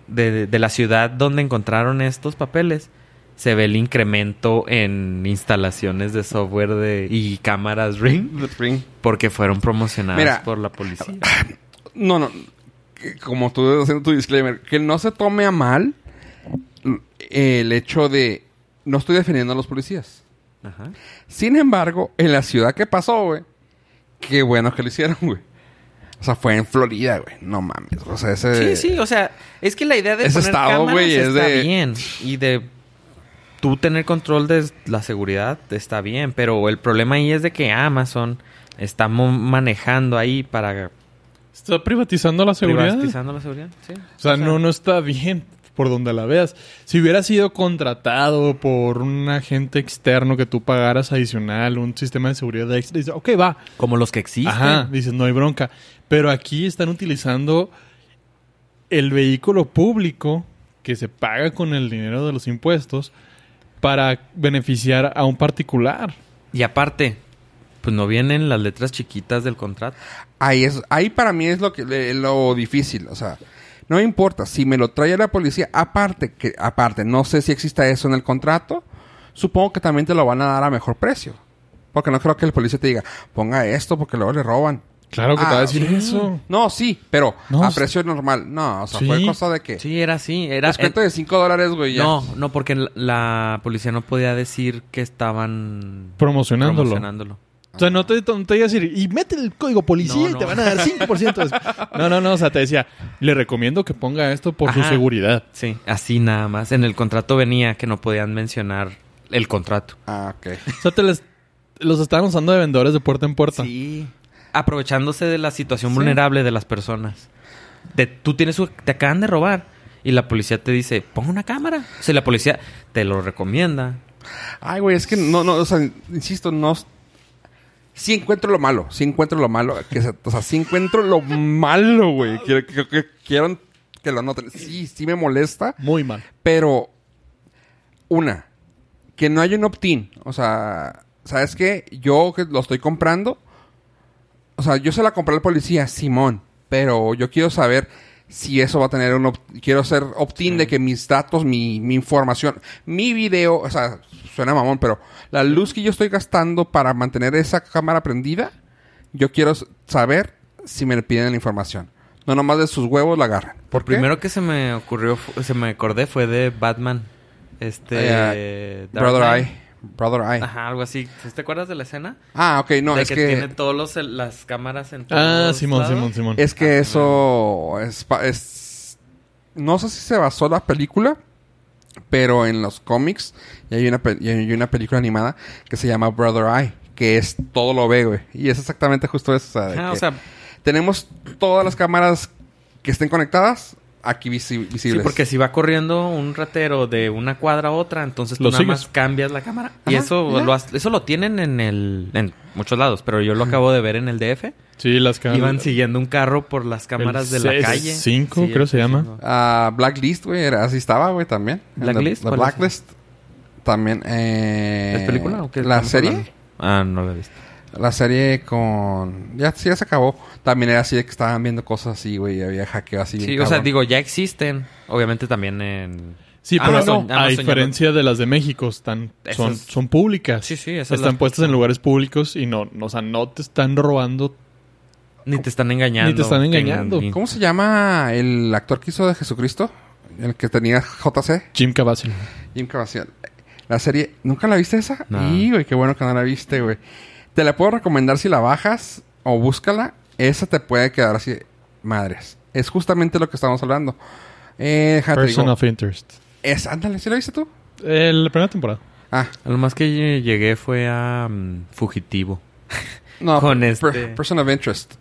C: de, de la ciudad donde encontraron estos papeles se ve el incremento en instalaciones de software de, y cámaras Ring porque fueron promocionadas
A: Mira.
C: por la policía.
A: No, no. Que Como tú haciendo tu disclaimer, que no se tome a mal el hecho de. No estoy defendiendo a los policías.
C: Ajá.
A: Sin embargo, en la ciudad que pasó, güey, qué bueno que lo hicieron, güey. O sea, fue en Florida, güey. No mames. O sea, ese.
C: Sí, sí, o sea, es que la idea de
A: ese
C: poner
A: estado,
C: cámaras
A: Eh, güey, es
C: está
A: de-
C: bien y de tú tener control de la seguridad está bien, pero el problema ahí es de que Amazon está mo- manejando ahí para
B: Está privatizando la seguridad.
C: privatizando la seguridad. Sí.
B: O sea, no, no está bien por donde la veas. Si hubiera sido contratado por un agente externo que tú pagaras adicional, un sistema de seguridad extra, dices, ok, va.
C: Como los que existen.
B: Ajá, dices, no hay bronca. Pero aquí están utilizando el vehículo público que se paga con el dinero de los impuestos para beneficiar a un particular.
C: Y aparte, pues no vienen las letras chiquitas del contrato.
A: Ahí, es, ahí para mí es lo, que, eh, lo difícil. O sea, no me importa. Si me lo trae la policía, aparte, que aparte, no sé si exista eso en el contrato, supongo que también te lo van a dar a mejor precio. Porque no creo que el policía te diga, ponga esto porque luego le roban.
B: Claro que te va a
A: Ah,
B: decir
A: sí.
B: eso.
A: No, sí, pero
B: No,
A: a
B: sí.
A: precio normal. No, o sea,
B: Sí. Eh,
A: fue cosa de que.
C: Sí, era así. Era, eh,
A: Descuento de 5 dólares, güey. ya.
C: No, no, porque la, la policía no podía decir que estaban
B: Promocionándolo.
C: promocionándolo.
B: O sea, no te, no te ibas a decir, y mete el código policía
C: No,
B: y
C: no.
B: te van a dar 5%. de descuento". no, no, no. O sea, te decía, le recomiendo que ponga esto por su
C: Ajá.
B: seguridad.
C: Sí, así nada más. En el contrato venía que no podían mencionar el contrato.
A: Ah, ok.
B: O sea, te les- los están usando de vendedores de puerta en puerta.
C: Sí. Aprovechándose de la situación
B: Sí.
C: vulnerable de las personas. De, tú tienes, un- te acaban de robar y la policía te dice, pon una cámara. O sea, la policía te lo recomienda.
A: Ay, güey, es que no, no, o sea, insisto, no. Sí encuentro lo malo, sí encuentro lo malo. Que se- o sea, sí encuentro lo malo, güey. Quiero que, que- quiero que lo noten. Sí, sí me molesta,
B: Muy mal.
A: pero. Una, que no hay un opt-in. O sea, ¿sabes qué? Yo que lo estoy comprando. O sea, yo se la compré al policía, Simón. Pero yo quiero saber si eso va a tener un... opt- quiero ser opt-in de que mis datos, mi, mi información, mi video... O sea, suena mamón, pero la luz que yo estoy gastando para mantener esa cámara prendida, yo quiero s- saber si me piden la información. No nomás de sus huevos la agarran.
C: Por primero que se me ocurrió, fu- se me acordé fue de Batman. Este.
A: Eh,
C: Dark
A: Brother
C: Knight.
A: Eye. Brother Eye.
C: Ajá, algo así. ¿Te acuerdas de la escena?
A: Ah, ok, no,
C: de
A: es
C: que,
A: que...
C: tiene todas las cámaras en
B: Ah,
C: todos
B: Simón,
C: lados.
B: Simón, Simón.
A: Es
C: Ah,
A: que eso es, pa- es- No sé si se basó la película, pero en los cómics y hay, una pe- y hay una película animada que se llama Brother Eye, que es todo lo ve, güey. Y es exactamente justo eso. O sea, de
C: Ah, o
A: que
C: sea,
A: tenemos todas las cámaras que estén conectadas aquí visi- visibles.
C: Sí, porque si va corriendo un ratero de una cuadra a otra, entonces tú
B: Lo
C: nada
B: sigues.
C: más cambias la cámara. y
A: Ajá,
C: eso
A: ya.
C: lo, has- eso lo tienen en el en muchos lados, pero yo lo acabo de ver en el DF.
B: Sí, las cámaras.
C: Iban siguiendo un carro por las cámaras de la
B: C-
C: calle.
B: cinco, creo
C: el
B: se llama.
C: cinco.
A: Ah, Blacklist, güey, era- así estaba, güey, también. En la-
C: ¿Blacklist?
A: la
C: ¿Cuál es?
A: Blacklist. También. Eh,
C: ¿Es película o qué
A: La
C: estamos
A: serie.
C: hablando? Ah, no la he visto.
A: La serie con. Ya, sí, ya se acabó. También era así de que estaban viendo cosas así, güey. y Había hackeo así.
C: Sí,
A: bien
C: o sea,
A: cabrón.
C: digo, ya existen. Obviamente también en...
B: Sí, pero
C: Amazon,
B: a
C: Amazon ya
B: diferencia de las de México, están, son,
C: Esas-
B: son públicas.
C: Sí, sí, esas
B: Están
C: las-
B: puestas en lugares públicos y no, no, o sea, no te están robando.
C: Ni te están engañando.
B: Ni te están engañando.
C: Ni-
A: ¿Cómo se llama el actor que hizo de Jesucristo? El que tenía JC.
B: Jim Cavazzi.
C: Ah,
A: Jim Caviezel. La serie, ¿nunca la viste esa?
C: No.
A: Y, güey, qué bueno que no la viste, güey. Te la puedo recomendar si la bajas o búscala. Esa te puede quedar así, madres. Es justamente lo que estamos hablando. Eh, déjate,
B: Person
A: digo,
B: of Interest.
A: es, ándale, ¿sí la viste tú?
B: Eh, la primera temporada.
A: Ah,
C: A Lo más que lle- llegué fue a mm, Fugitivo.
A: no.
C: Con este-
A: Person of Interest.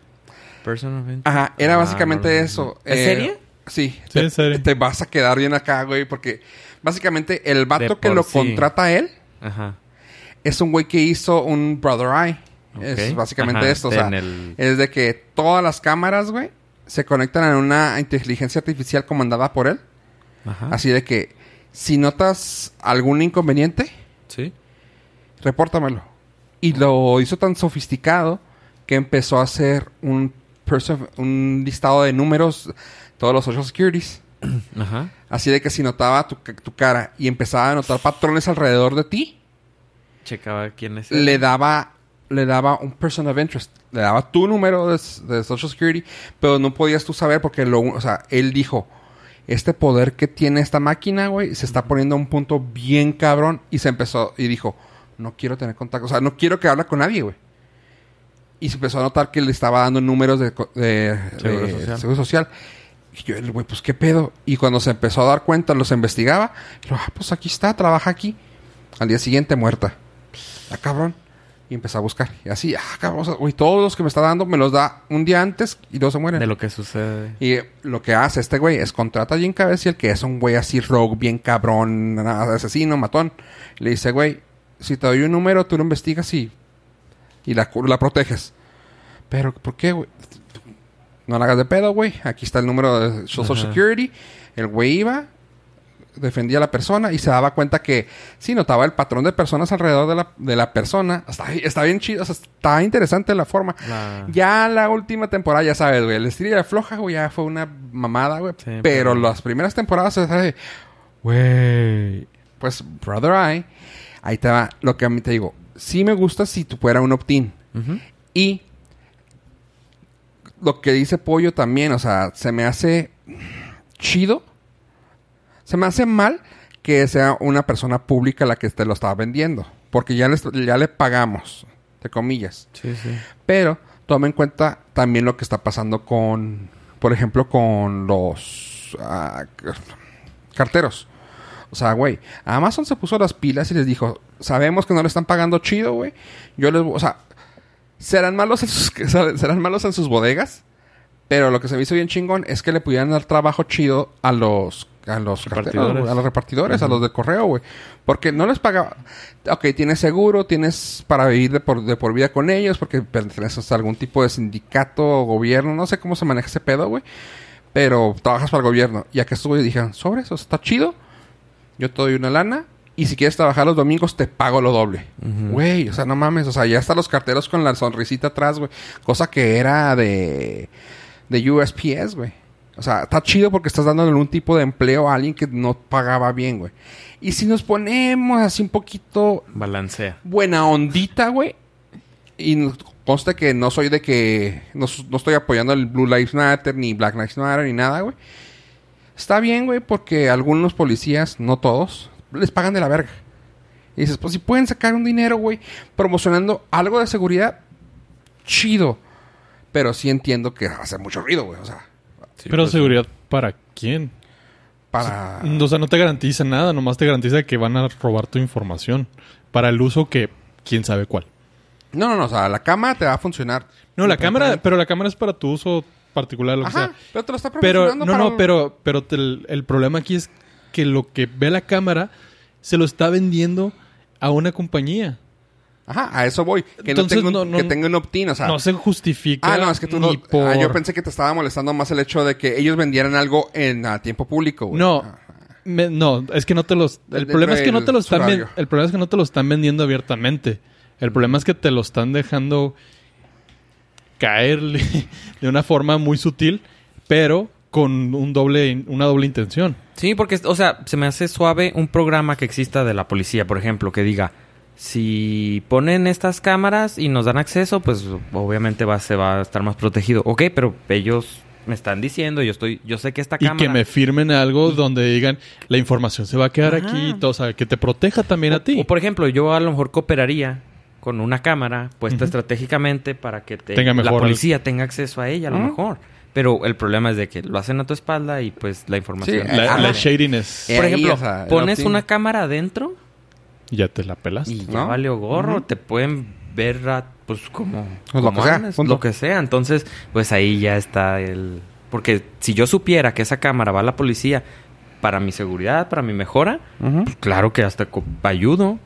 C: Person of Interest.
A: Ajá, era
C: Ah,
A: básicamente
C: no lo-
A: eso.
C: ¿Es
A: Eh,
C: serie?
A: Sí.
B: Sí,
A: te,
B: es serie.
A: te vas a quedar bien acá, güey, porque básicamente el vato
C: De
A: que
C: por
A: lo
C: sí.
A: contrata a él
C: Ajá.
A: es un güey que hizo un Brother Eye.
C: Ok.
A: Es básicamente
C: Ajá,
A: esto, o sea,
C: en el-
A: es de que todas las cámaras, güey, se conectan a una inteligencia artificial comandada por él.
C: Ajá.
A: Así de que si notas algún inconveniente,
C: Sí.
A: repórtamelo. Y lo hizo tan sofisticado que empezó a hacer un, perso- un listado de números, todos los social securities.
C: Ajá.
A: Así de que si notaba tu, ca- tu cara y empezaba a notar patrones alrededor de ti,
C: Checaba quién es.
A: le daba le daba un person of interest, le daba tu número de, s- de Social Security, pero no podías tú saber porque lo, o sea, él dijo, este poder que tiene esta máquina, güey, se está poniendo a un punto bien cabrón y se empezó y dijo, no quiero tener contacto, o sea, no quiero que hable con nadie, güey. Y se empezó a notar que le estaba dando números de, co- de-
C: Seguro
A: de
C: Social.
A: Seguro Social. Y yo, el güey, pues qué pedo. Y cuando se empezó a dar cuenta, los investigaba. Y lo, ah, pues aquí está, trabaja aquí. Al día siguiente, muerta. Ah, cabrón. Y empecé a buscar. Y así, ah, cabrón. o sea, güey, todos los que me está dando me los da un día antes y luego se mueren.
C: De lo que sucede.
A: Y eh, lo que hace este güey es contrata a Jim Caviezel, que es un güey así rogue, bien cabrón, asesino, matón. Le dice, güey, si te doy un número, tú lo investigas y, y la, cu- la proteges. Pero, ¿por qué, güey? No la hagas de pedo, güey. Aquí está el número de Social
C: Ajá.
A: Security. El güey iba, defendía a la persona y se daba cuenta que sí notaba el patrón de personas alrededor de la, de la persona. Está, está bien chido, o sea, está interesante la forma.
C: La-
A: Ya la última temporada, ya sabes, güey, el estilo de floja, güey, ya fue una mamada, güey.
C: Sí,
A: pero,
C: pero-
A: las primeras temporadas, es de, güey, pues Brother Eye, ahí te va lo que a mí te digo. Sí me gusta si tú fuera un opt-in.
C: Ujú.
A: Y lo que dice Pollo también, o sea, se me hace chido. Se me hace mal que sea una persona pública la que te lo está vendiendo. Porque ya, les- ya le pagamos, entre comillas.
C: Sí, sí.
A: Pero toma en cuenta también lo que está pasando con, por ejemplo, con los ah, carteros. O sea, güey, Amazon se puso las pilas y les dijo, sabemos que no le están pagando chido, güey. Yo les, o sea, serán malos en sus, serán malos en sus bodegas, pero lo que se me hizo bien chingón es que le pudieran dar trabajo chido a los a los carteros,
C: Repartidores.
A: güey, a los repartidores, a los del correo, güey, porque no les pagaba. Ok, tienes seguro, tienes para vivir de por, de por vida con ellos porque perteneces a algún tipo de sindicato o gobierno, no sé cómo se maneja ese pedo, güey. Pero trabajas para el gobierno. Y acá estuve y dijeron, sobre eso, está chido. Yo te doy una lana. Y si quieres trabajar los domingos, te pago lo doble. Güey, o sea, no mames. O sea, ya están los carteros con la sonrisita atrás, güey. Cosa que era de, de USPS, güey. O sea, está chido porque estás dándole un tipo de empleo a alguien que no pagaba bien, güey. Y si nos ponemos así un poquito
C: Balancea.
A: buena ondita, güey. Y no- consta que no soy de que. No, s- no estoy apoyando el Blue Lives Matter, ni Black Lives Matter, ni nada, güey. Está bien, güey, porque algunos policías, no todos, les pagan de la verga. Y dices, pues si pueden sacar un dinero, güey, promocionando algo de seguridad, chido. Pero sí entiendo que hace mucho ruido, güey, o sea,
C: Sí,
B: pero
C: pues,
B: seguridad, ¿para quién?
A: para.
B: O sea, no te garantiza nada, nomás te garantiza que van a robar tu información para el uso que quién sabe cuál.
A: No, no, no. O sea, la cama te va a funcionar.
B: No, la cámara, pero la cámara es para tu uso particular, lo que
A: Ajá.
B: sea.
A: Pero te lo está
B: Pero, no,
A: promocionando para
B: no,
A: un-
B: pero, pero te- el, el problema aquí es que lo que ve la cámara se lo está vendiendo a una compañía.
A: Ajá, a eso voy. Que
B: Entonces,
A: no tengo, un-
B: no, no-
A: que tengo un opt-in, o sea.
B: no se justifica.
A: Ah, no, es que tú no.
B: ni por-
A: Ah, yo pensé que te estaba molestando más el hecho de que ellos vendieran algo en a tiempo público, güey.
B: No,
A: Ah,
B: me- no, es que no te los. El
A: Dentro
B: problema es que no
A: del
B: te los están. ven-
A: horario.
B: El problema es que no te lo están vendiendo abiertamente. El problema es que te lo están dejando caerle de una forma muy sutil, pero con un doble, in- una doble intención.
C: Sí, porque, o sea, se me hace suave un programa que exista de la policía, por ejemplo, que diga, si ponen estas cámaras y nos dan acceso, pues obviamente va, se va a estar más protegido. Ok, pero ellos me están diciendo, yo estoy, yo sé que esta
B: Y
C: cámara...
B: que me firmen algo donde digan la información se va a quedar
C: Ajá.
B: aquí, y todo, o sea, que te proteja también
C: O-
B: a ti.
C: o, por ejemplo, yo a lo mejor cooperaría con una cámara puesta
B: Ujú.
C: estratégicamente para que te-
B: Tenga
C: la
B: mejor-
C: policía tenga acceso a ella, a lo
A: Ujú.
C: mejor. Pero el problema es de que lo hacen a tu espalda y pues la información...
A: Sí,
B: La,
A: Ajá.
B: la shadiness
A: Eh,
C: Por
A: ahí,
C: ejemplo,
A: o sea, el
C: pones
A: opt-in.
C: una cámara adentro
B: ya te la pelas.
C: Y ya
A: ¿No?
C: vale o gorro,
A: Ujú.
C: te pueden ver a, pues como,
A: Pues lo
C: como
A: que sea,
C: andes,
A: punto.
C: lo que sea. Entonces, pues ahí ya está el porque si yo supiera que esa cámara va a la policía para mi seguridad, para mi mejora,
A: ujú.
C: pues claro que hasta co- ayudo.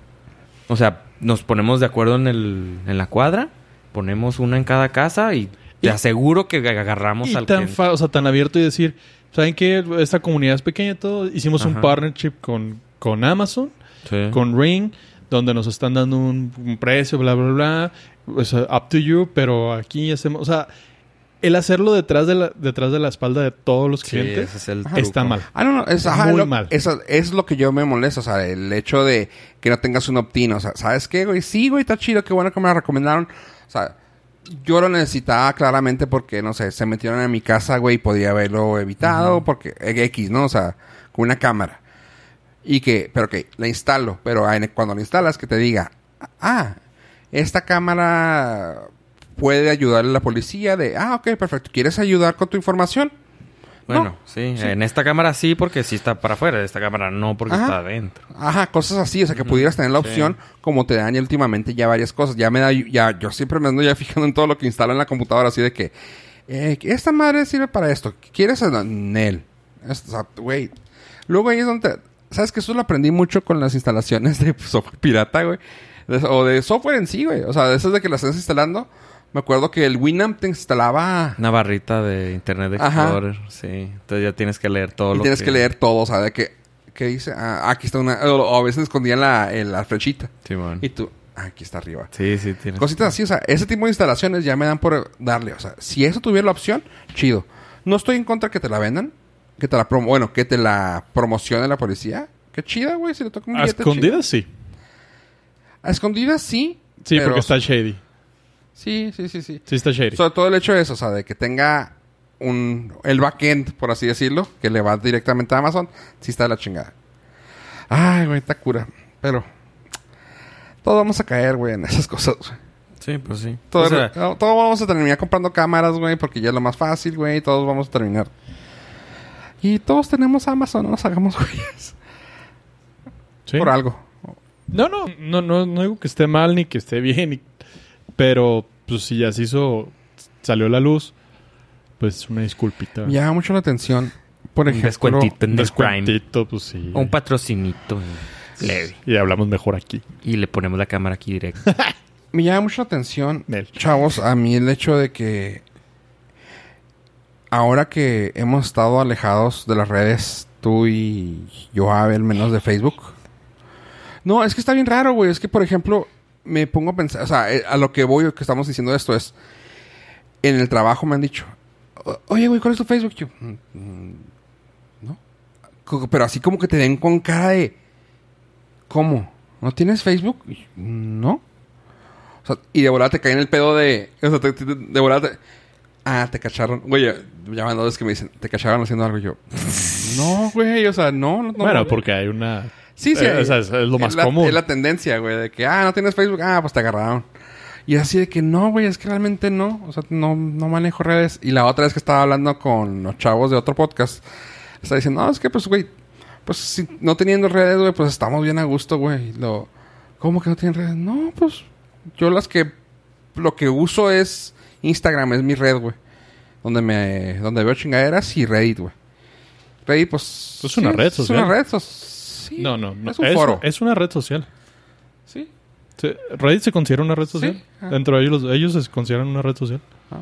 C: O sea, nos ponemos de acuerdo en el en la cuadra, ponemos una en cada casa y
B: Y-
C: te aseguro que ag- agarramos
B: y
C: al
B: tan
C: que-
B: fa- o sea, tan abierto y decir, ¿saben qué? Esta comunidad es pequeña y todo. Hicimos un
C: Ajá.
B: partnership con, con Amazon,
C: Sí.
B: con Ring, donde nos están dando un, un precio, bla, bla, bla. O sea, up to you, pero aquí hacemos... O sea, el hacerlo detrás de la, detrás de la espalda de todos los
C: Sí,
B: clientes
C: ese es el
B: está
C: truco.
B: mal.
A: Ah, no, no. Es, ajá,
B: Muy
A: lo-
B: mal.
A: eso- es lo que yo me molesta. O sea, el hecho de que no tengas un opt-in. O sea, ¿sabes qué, güey? Sí, güey, está chido. Qué bueno que me la recomendaron. O sea, yo lo necesitaba claramente porque, no sé, se metieron en mi casa, güey, y podía haberlo evitado. Porque eh, X, ¿no? O sea, con una cámara. Y que, pero que la instalo. Pero en- cuando la instalas, que te diga, ah, esta cámara puede ayudarle a la policía de, ah, ok, perfecto. ¿Quieres ayudar con tu información?
C: Bueno,
A: No.
C: sí,
A: Sí.
C: en esta cámara sí porque sí está para afuera, esta cámara no porque
A: Ajá.
C: está adentro.
A: Ajá, cosas así, o sea, que pudieras tener la opción, como te dan ya últimamente ya varias cosas. Ya me da, ya, yo siempre me ando ya fijando en todo lo que instalo en la computadora, así de que, eh, esta madre sirve para esto, ¿quieres en él? Es- O sea, güey. Luego ahí es donde, te- ¿sabes que Eso lo aprendí mucho con las instalaciones de software pirata, güey. De- O de software en sí, güey. O sea, de esas de que las estás instalando, me acuerdo que el Winamp te instalaba...
C: Una barrita de Internet
A: Ajá.
C: Explorer, sí. Entonces ya tienes que leer todo
A: Y
C: lo
A: tienes que... leer todo, o sea, de que, ¿qué dice? Ah, aquí está una... O, o a veces escondían la, en la flechita.
C: Simón.
A: Y tú, ah, aquí está arriba.
C: Sí, sí, tienes.
A: Cositas así, o sea, ese tipo de instalaciones ya me dan por darle. O sea, si eso tuviera la opción, chido. No estoy en contra que te la vendan, que te la promo bueno, que te la promocione la policía. Qué chida, güey, si le toca un
B: A
A: billete.
B: escondidas, sí.
A: chido. A escondidas sí.
B: Sí,
A: pero-
B: porque está shady.
A: Sí, sí, sí, sí.
B: Sí, está shady.
A: Sobre todo el hecho de eso, o sea, de que tenga un el backend, por así decirlo, que le va directamente a Amazon, sí está de la chingada. Ay, güey, está cura. Pero todos vamos a caer, güey, en esas cosas, güey.
C: Sí, pues sí.
A: Todo,
C: O sea,
A: no, todos vamos a terminar comprando cámaras, güey, porque ya es lo más fácil, güey. Todos vamos a terminar. Y todos tenemos Amazon, no nos hagamos güeyes.
B: Sí.
A: Por algo.
B: No, no, no, no, no digo que esté mal ni que esté bien, ni- pero pues si ya se hizo, salió a la luz, pues una disculpita.
A: Me llama mucho la atención. Por
C: un
A: ejemplo,
C: descuentito en
B: Un
C: el Prime.
B: descuentito, pues sí.
C: O un patrocinito eh, leve.
B: Y hablamos mejor aquí.
C: Y le ponemos la cámara aquí directo.
A: me llama mucho la atención,
B: Nel.
A: chavos, a mí el hecho de que ahora que hemos estado alejados de las redes, tú y yo, Abel, menos de Facebook. No, es que está bien raro, güey. Es que, por ejemplo, me pongo a pensar, o sea, eh, a lo que voy, o que estamos diciendo esto es, en el trabajo me han dicho, "O- oye, güey, ¿cuál es tu Facebook? Yo, "Mm, mm, no. Co- Pero así como que te den con cara de, ¿cómo? ¿No tienes Facebook? Y yo, No. O sea, y de volada te cae en el pedo de. O sea, te- te- de volada te- Ah, te cacharon. Güey, ya ya van dos veces que me dicen, te cacharon haciendo algo. Y yo, no, güey, o sea, no. no no,
B: bueno,
A: no".
B: porque hay una...
A: Sí, sí.
B: Eh, o sea, es- es lo más
A: la-
B: común.
A: Es la tendencia, güey, de que, ah, no tienes Facebook, ah, pues te agarraron. Y así de que no, güey, es que realmente no. O sea, no, no manejo redes. Y la otra vez que estaba hablando con los chavos de otro podcast, estaba diciendo, no, es que pues, güey, pues si no teniendo redes, güey, pues estamos bien a gusto, güey. Lo, ¿Cómo que no tienen redes? No, pues yo las que lo que uso es Instagram, es mi red, güey. Donde me donde veo chingaderas y Reddit, güey. Reddit, pues...
B: Es una red social.
A: Es una red social.
B: No, no, no.
A: Es un foro.
B: es una red social.
A: Sí.
B: Sí, ¿Reddit se considera una red social?
A: ah.
B: Dentro de ellos, los- ellos se consideran una red social.
A: Ah.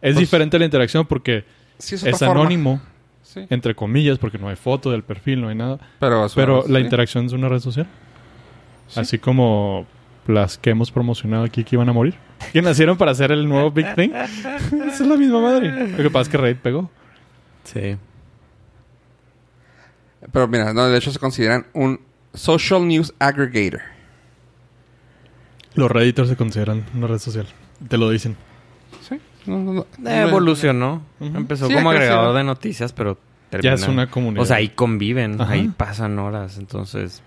B: Es
A: Pues-
B: diferente la interacción porque
A: Sí,
B: es,
A: otra forma.
B: anónimo,
A: Sí.
B: entre comillas, porque no hay foto del perfil, no hay nada.
A: Pero, es una
B: Pero
A: red
B: la
A: social.
B: interacción es una red social.
A: Sí.
B: Así como las que hemos promocionado aquí que iban a morir. Que nacieron para hacer el nuevo Big Thing. Esa es la misma madre. Lo que pasa es que Reddit pegó.
C: Sí.
A: Pero mira, no, de hecho se consideran un social news aggregator.
B: Los Redditors se consideran una red social. Te lo dicen.
A: Sí. No, no, no.
C: Eh, Evolucionó.
B: Ujú.
C: Empezó
A: Sí,
C: como
A: ha crecido.
C: agregador de noticias, pero
B: Ya
C: terminó-
B: es una comunidad.
C: O sea, ahí conviven,
B: Ajá.
C: ahí pasan horas, entonces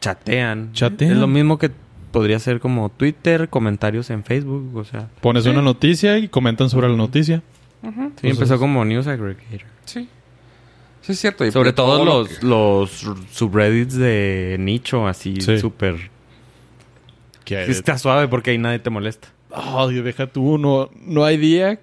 C: chatean.
B: Chatean.
C: Es lo mismo que podría ser como Twitter, comentarios en Facebook, o sea.
B: Pones una noticia y comentan sobre la noticia.
A: Ujú,
C: Sí,
B: Entonces-
C: empezó como news aggregator.
A: Sí. Sí, es cierto. y
C: Sobre
A: pues,
C: todo
A: lo
C: los, los r- subreddits de nicho, así
B: Sí.
C: súper.
B: Que
C: Está suave porque ahí nadie te molesta.
B: Oh, Dios, deja tú. No, no hay día.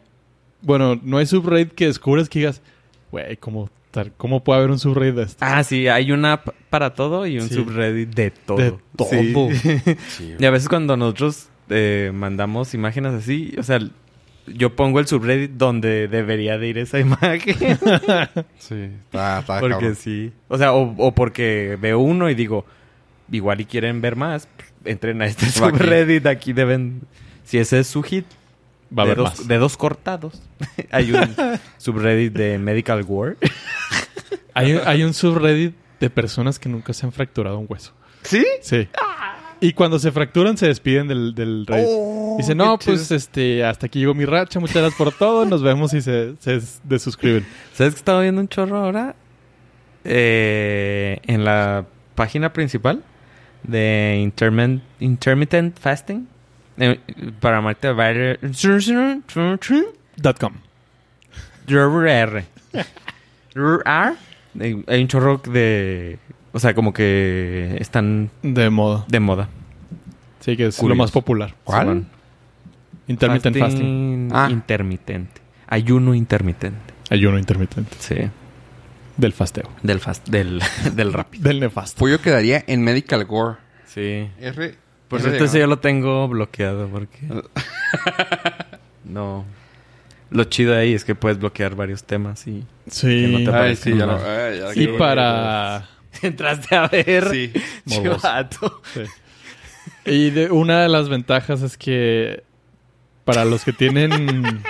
B: Bueno, no hay subreddit que descubres que digas, güey, ¿cómo, tal- ¿cómo puede haber un subreddit de este? esto?
C: Ah, sí, hay una app para todo y un
B: Sí.
C: subreddit de todo.
B: De todo.
C: Sí.
A: que- Sí,
C: y a veces cuando nosotros eh, mandamos imágenes así, o sea, yo pongo el subreddit donde debería de ir esa imagen.
A: sí. Está, está
C: porque
A: cabrón.
C: sí. O sea, o, o porque veo uno y digo, igual y quieren ver más, pues, entren a este
A: Va aquí.
C: subreddit, aquí deben... Si ese es su hit,
B: Va a
C: de
B: haber
C: dos,
B: más.
C: de dos cortados. Hay un subreddit de Medical War.
B: Hay, hay un subreddit de personas que nunca se han fracturado un hueso.
C: ¿Sí?
B: Sí. Y cuando se fracturan, se despiden del, del Reddit. Dicen, no,
C: Oh, qué chido".
B: pues este, hasta aquí llegó mi racha, muchas gracias por todo, nos vemos y se, se desuscriben.
C: ¿Sabes que estaba viendo un chorro ahora? Eh, en la página principal de intermittent, intermittent fasting. eh, para Marta Barre-
B: Dot com.
C: RR. RR. Eh, Hay un chorro de. O sea, como que están
B: De modo.
C: de moda.
B: Sí, que es
C: Curioso.
B: lo más popular.
A: ¿Cuál?
C: Simón.
B: Intermittent fasting.
A: Ah.
C: Intermitente. Ayuno intermitente.
B: Ayuno intermitente.
C: Sí.
B: Del fasteo.
C: Del fast, del, del rap.
B: Del nefasto.
A: Pues yo quedaría en Medical Gore.
C: Sí.
A: R.
C: Por
A: R
C: cierto,
A: diagonal.
C: ese yo este lo tengo bloqueado porque. no. Lo chido ahí es que puedes bloquear varios temas y.
B: Sí.
C: Que no te-
A: Ay, sí, ya lo...
C: Sí,
A: ay, ya lo
B: y
A: quiero
B: para...
C: Entraste a ver.
A: ver. Sí.
B: Morboso.
C: chivato.
B: Y de- una de las ventajas es que para los que tienen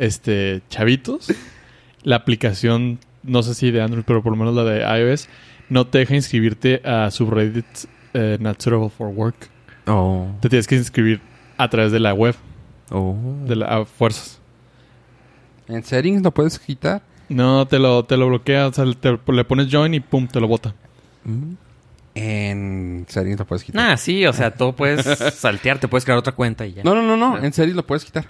B: este chavitos, la aplicación, no sé si de Android, pero por lo menos la de iOS, no te deja inscribirte a subreddit eh, Natural for Work.
C: Oh.
B: Te tienes que inscribir a través de la web,
C: oh.
B: de la a fuerzas.
A: En settings lo puedes quitar.
B: No, te lo, te lo bloquea, o sea, te- le pones join y pum, te lo bota. Mm.
A: En settings lo puedes quitar.
C: Nah, Ah, sí, o sea, todo puedes saltear, te puedes crear otra cuenta y ya.
A: No, no, no, no. En settings lo puedes quitar.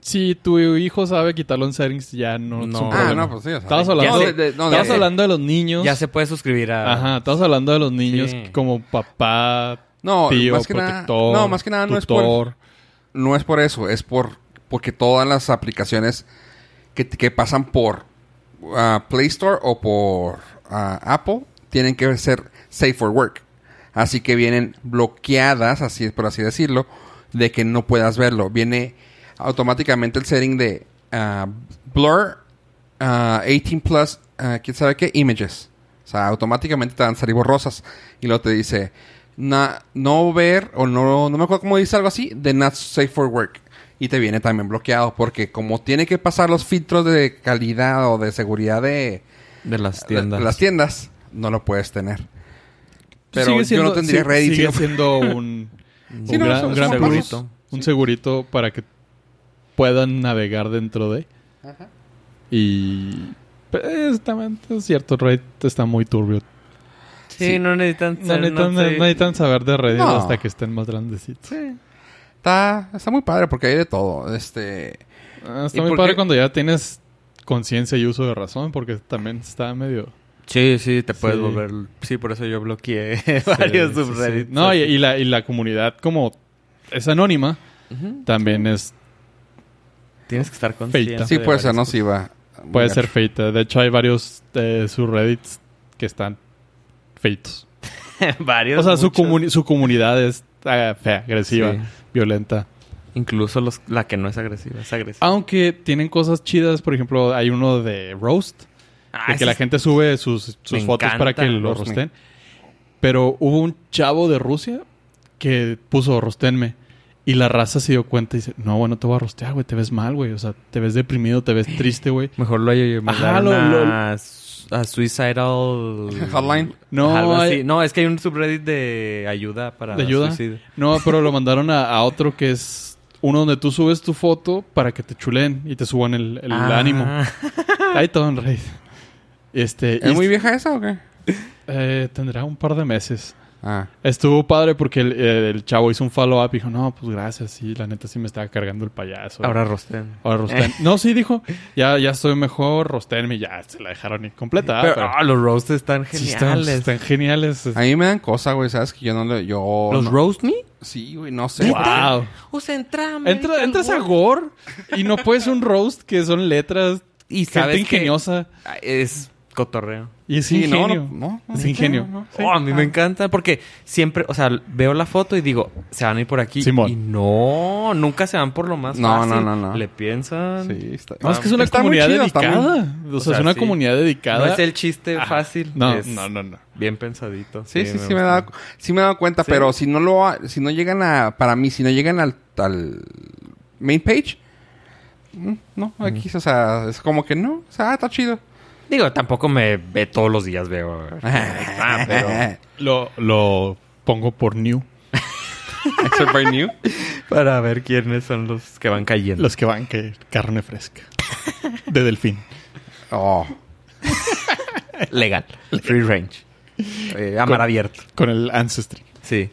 B: Si tu hijo sabe quitarlo en settings, ya no, es un
C: No.
A: Ah,
B: problema.
A: no, pues sí. O sea,
B: Oh, Estabas
A: ya
B: hablando-
A: sé, de- no, de-
B: Estamos hablando de los niños.
C: Ya se puede suscribir a.
B: Ajá, estamos hablando de los niños
C: Sí.
B: como papá,
A: No,
B: tío,
A: más que
B: protector,
A: nada, no, más que nada no es por
B: tutor.
A: no es por eso, es por porque todas las aplicaciones que, que pasan por ah, Play Store o por ah, Apple tienen que ser safe for work. Así que vienen bloqueadas, así por así decirlo, de que no puedas verlo. Viene automáticamente el setting de ah, blur ah, 18 plus, ah, quién sabe qué, images. O sea, automáticamente te van a salir borrosas. Y luego te dice, na- no ver, o no, no me acuerdo cómo dice algo así, de not safe for work. Y te viene también bloqueado, porque como tiene que pasar los filtros de calidad o de seguridad de
C: De las
A: de-
C: tiendas.
A: de las tiendas, no lo puedes tener. Pero
B: Sigue
A: yo no tendría
B: sí,
A: Reddit.
B: Sigue
A: si no-
B: siendo un, un
A: Sí, no,
B: gran,
A: es un
B: un gran plus,
A: segurito.
B: un segurito para que puedan navegar dentro de.
A: Ajá.
B: Y. pues, está- es cierto, Reddit está muy turbio.
C: Sí, no necesitan.
B: No necesitan, no necesitan saber de Reddit
A: No.
B: hasta que estén más grandecitos.
A: Está, está muy padre porque hay de todo. Este,
B: Ah,
C: ¿Y
B: Está muy
C: por
B: padre
C: qué?
B: cuando ya tienes conciencia y uso de razón, porque también está medio.
C: Sí, sí, te puedes
B: Sí.
C: volver. Sí, por eso yo bloqueé
B: Sí,
C: varios
B: sí, sí.
C: subreddits.
B: No, y, y la, y la comunidad como es anónima, también es
C: Tienes que estar
B: Feita.
C: consciente.
A: Sí,
C: de
A: puede ser
C: varias
A: nociva.
B: puede
A: Vulgar.
B: ser feita. De hecho, hay varios eh, subreddits que están feitos.
C: cosas. Varios.
B: O sea, su,
C: muchos.
B: comuni- su comunidad es eh, fea, agresiva,
C: Sí.
B: violenta.
C: Incluso los, la que no es agresiva, es agresiva.
B: Aunque tienen cosas chidas, por ejemplo, hay uno de roast,
C: Ah,
B: de que
C: ese
B: la
C: es-
B: gente sube sus, sus
C: Me
B: fotos para
C: encanta
B: que lo
A: roast me.
B: rosten. Pero hubo un chavo de Rusia que puso rostenme. Y la raza se dio cuenta y dice, no, bueno, te voy a rostear, güey, te ves mal, güey. O sea, te ves deprimido, te ves triste, güey.
C: Mejor lo hay mandaron
B: lo-
C: a, a Suicidal...
A: Hotline.
B: No,
C: Algo así.
B: hay-
C: No, es que hay un subreddit de ayuda para
B: ¿De ayuda?
C: suicidio.
B: No, pero lo mandaron a, a otro que es uno donde tú subes tu foto para que te chulen y te suban el, el
C: Ah.
B: ánimo. Ahí todo en raid. Este,
A: ¿Es
B: y-
A: muy vieja esa o qué?
B: eh, tendrá un par de meses.
A: Ah.
B: Estuvo padre porque el, eh, el chavo hizo un follow-up y dijo, no, pues gracias, sí, la neta sí me estaba cargando el payaso.
C: Ahora rosten.
B: Ahora Rostén. No, sí, dijo, ya, ya estoy mejor, Rostenme, ya se la dejaron incompleta.
C: Pero,
B: pero
C: ah, los roasts están
B: sí están, este,
C: geniales.
B: están geniales.
A: A mí me dan cosa, güey. Sabes que yo no le... Yo
C: ¿Los
A: no-
C: roast me?
A: Sí, güey. No sé.
B: Wow.
C: Usa entra,
B: Entra- entras a Gore y no puedes un roast que son letras
C: Y
B: gente
C: sabes que
B: ingeniosa.
C: es cotorreo.
B: Y es
A: Sí, no,
B: ingenio.
A: no, no, no,
B: es
A: sí,
B: ingenio.
A: no, no, sí.
C: Oh, a mí me encanta porque siempre, o sea, veo la foto y digo, se van a ir por aquí.
B: Simón.
C: Y no, nunca se van por lo más
A: No,
C: fácil.
A: no, no, no.
C: Le piensan.
A: Sí, está...
B: No, es que es una
A: Está muy
B: comunidad
A: chido, está muy-
B: dedicada. O sea,
C: sea,
B: es una
C: sí.
B: comunidad dedicada.
C: No es el chiste
B: Ajá.
C: fácil.
B: No,
C: es
B: no, no, no.
C: Bien pensadito.
A: Sí, sí, sí
C: gusta.
A: me, he dado, sí me he dado cuenta,
C: Sí.
A: pero si no lo, ha- si no llegan a, para mí, si no llegan al, al main page, mm, no, aquí, o sea, es como que no, o sea, ah, está chido.
C: Digo, tampoco me ve todos los días veo. Ah, pero
B: Lo, lo pongo por new.
A: Except by new.
C: para ver quiénes son los que van cayendo.
B: Los que van que carne fresca. De delfín.
A: Oh,
C: Legal. Free range. Eh, a mar abierto.
B: Con el Ancestry.
C: Sí.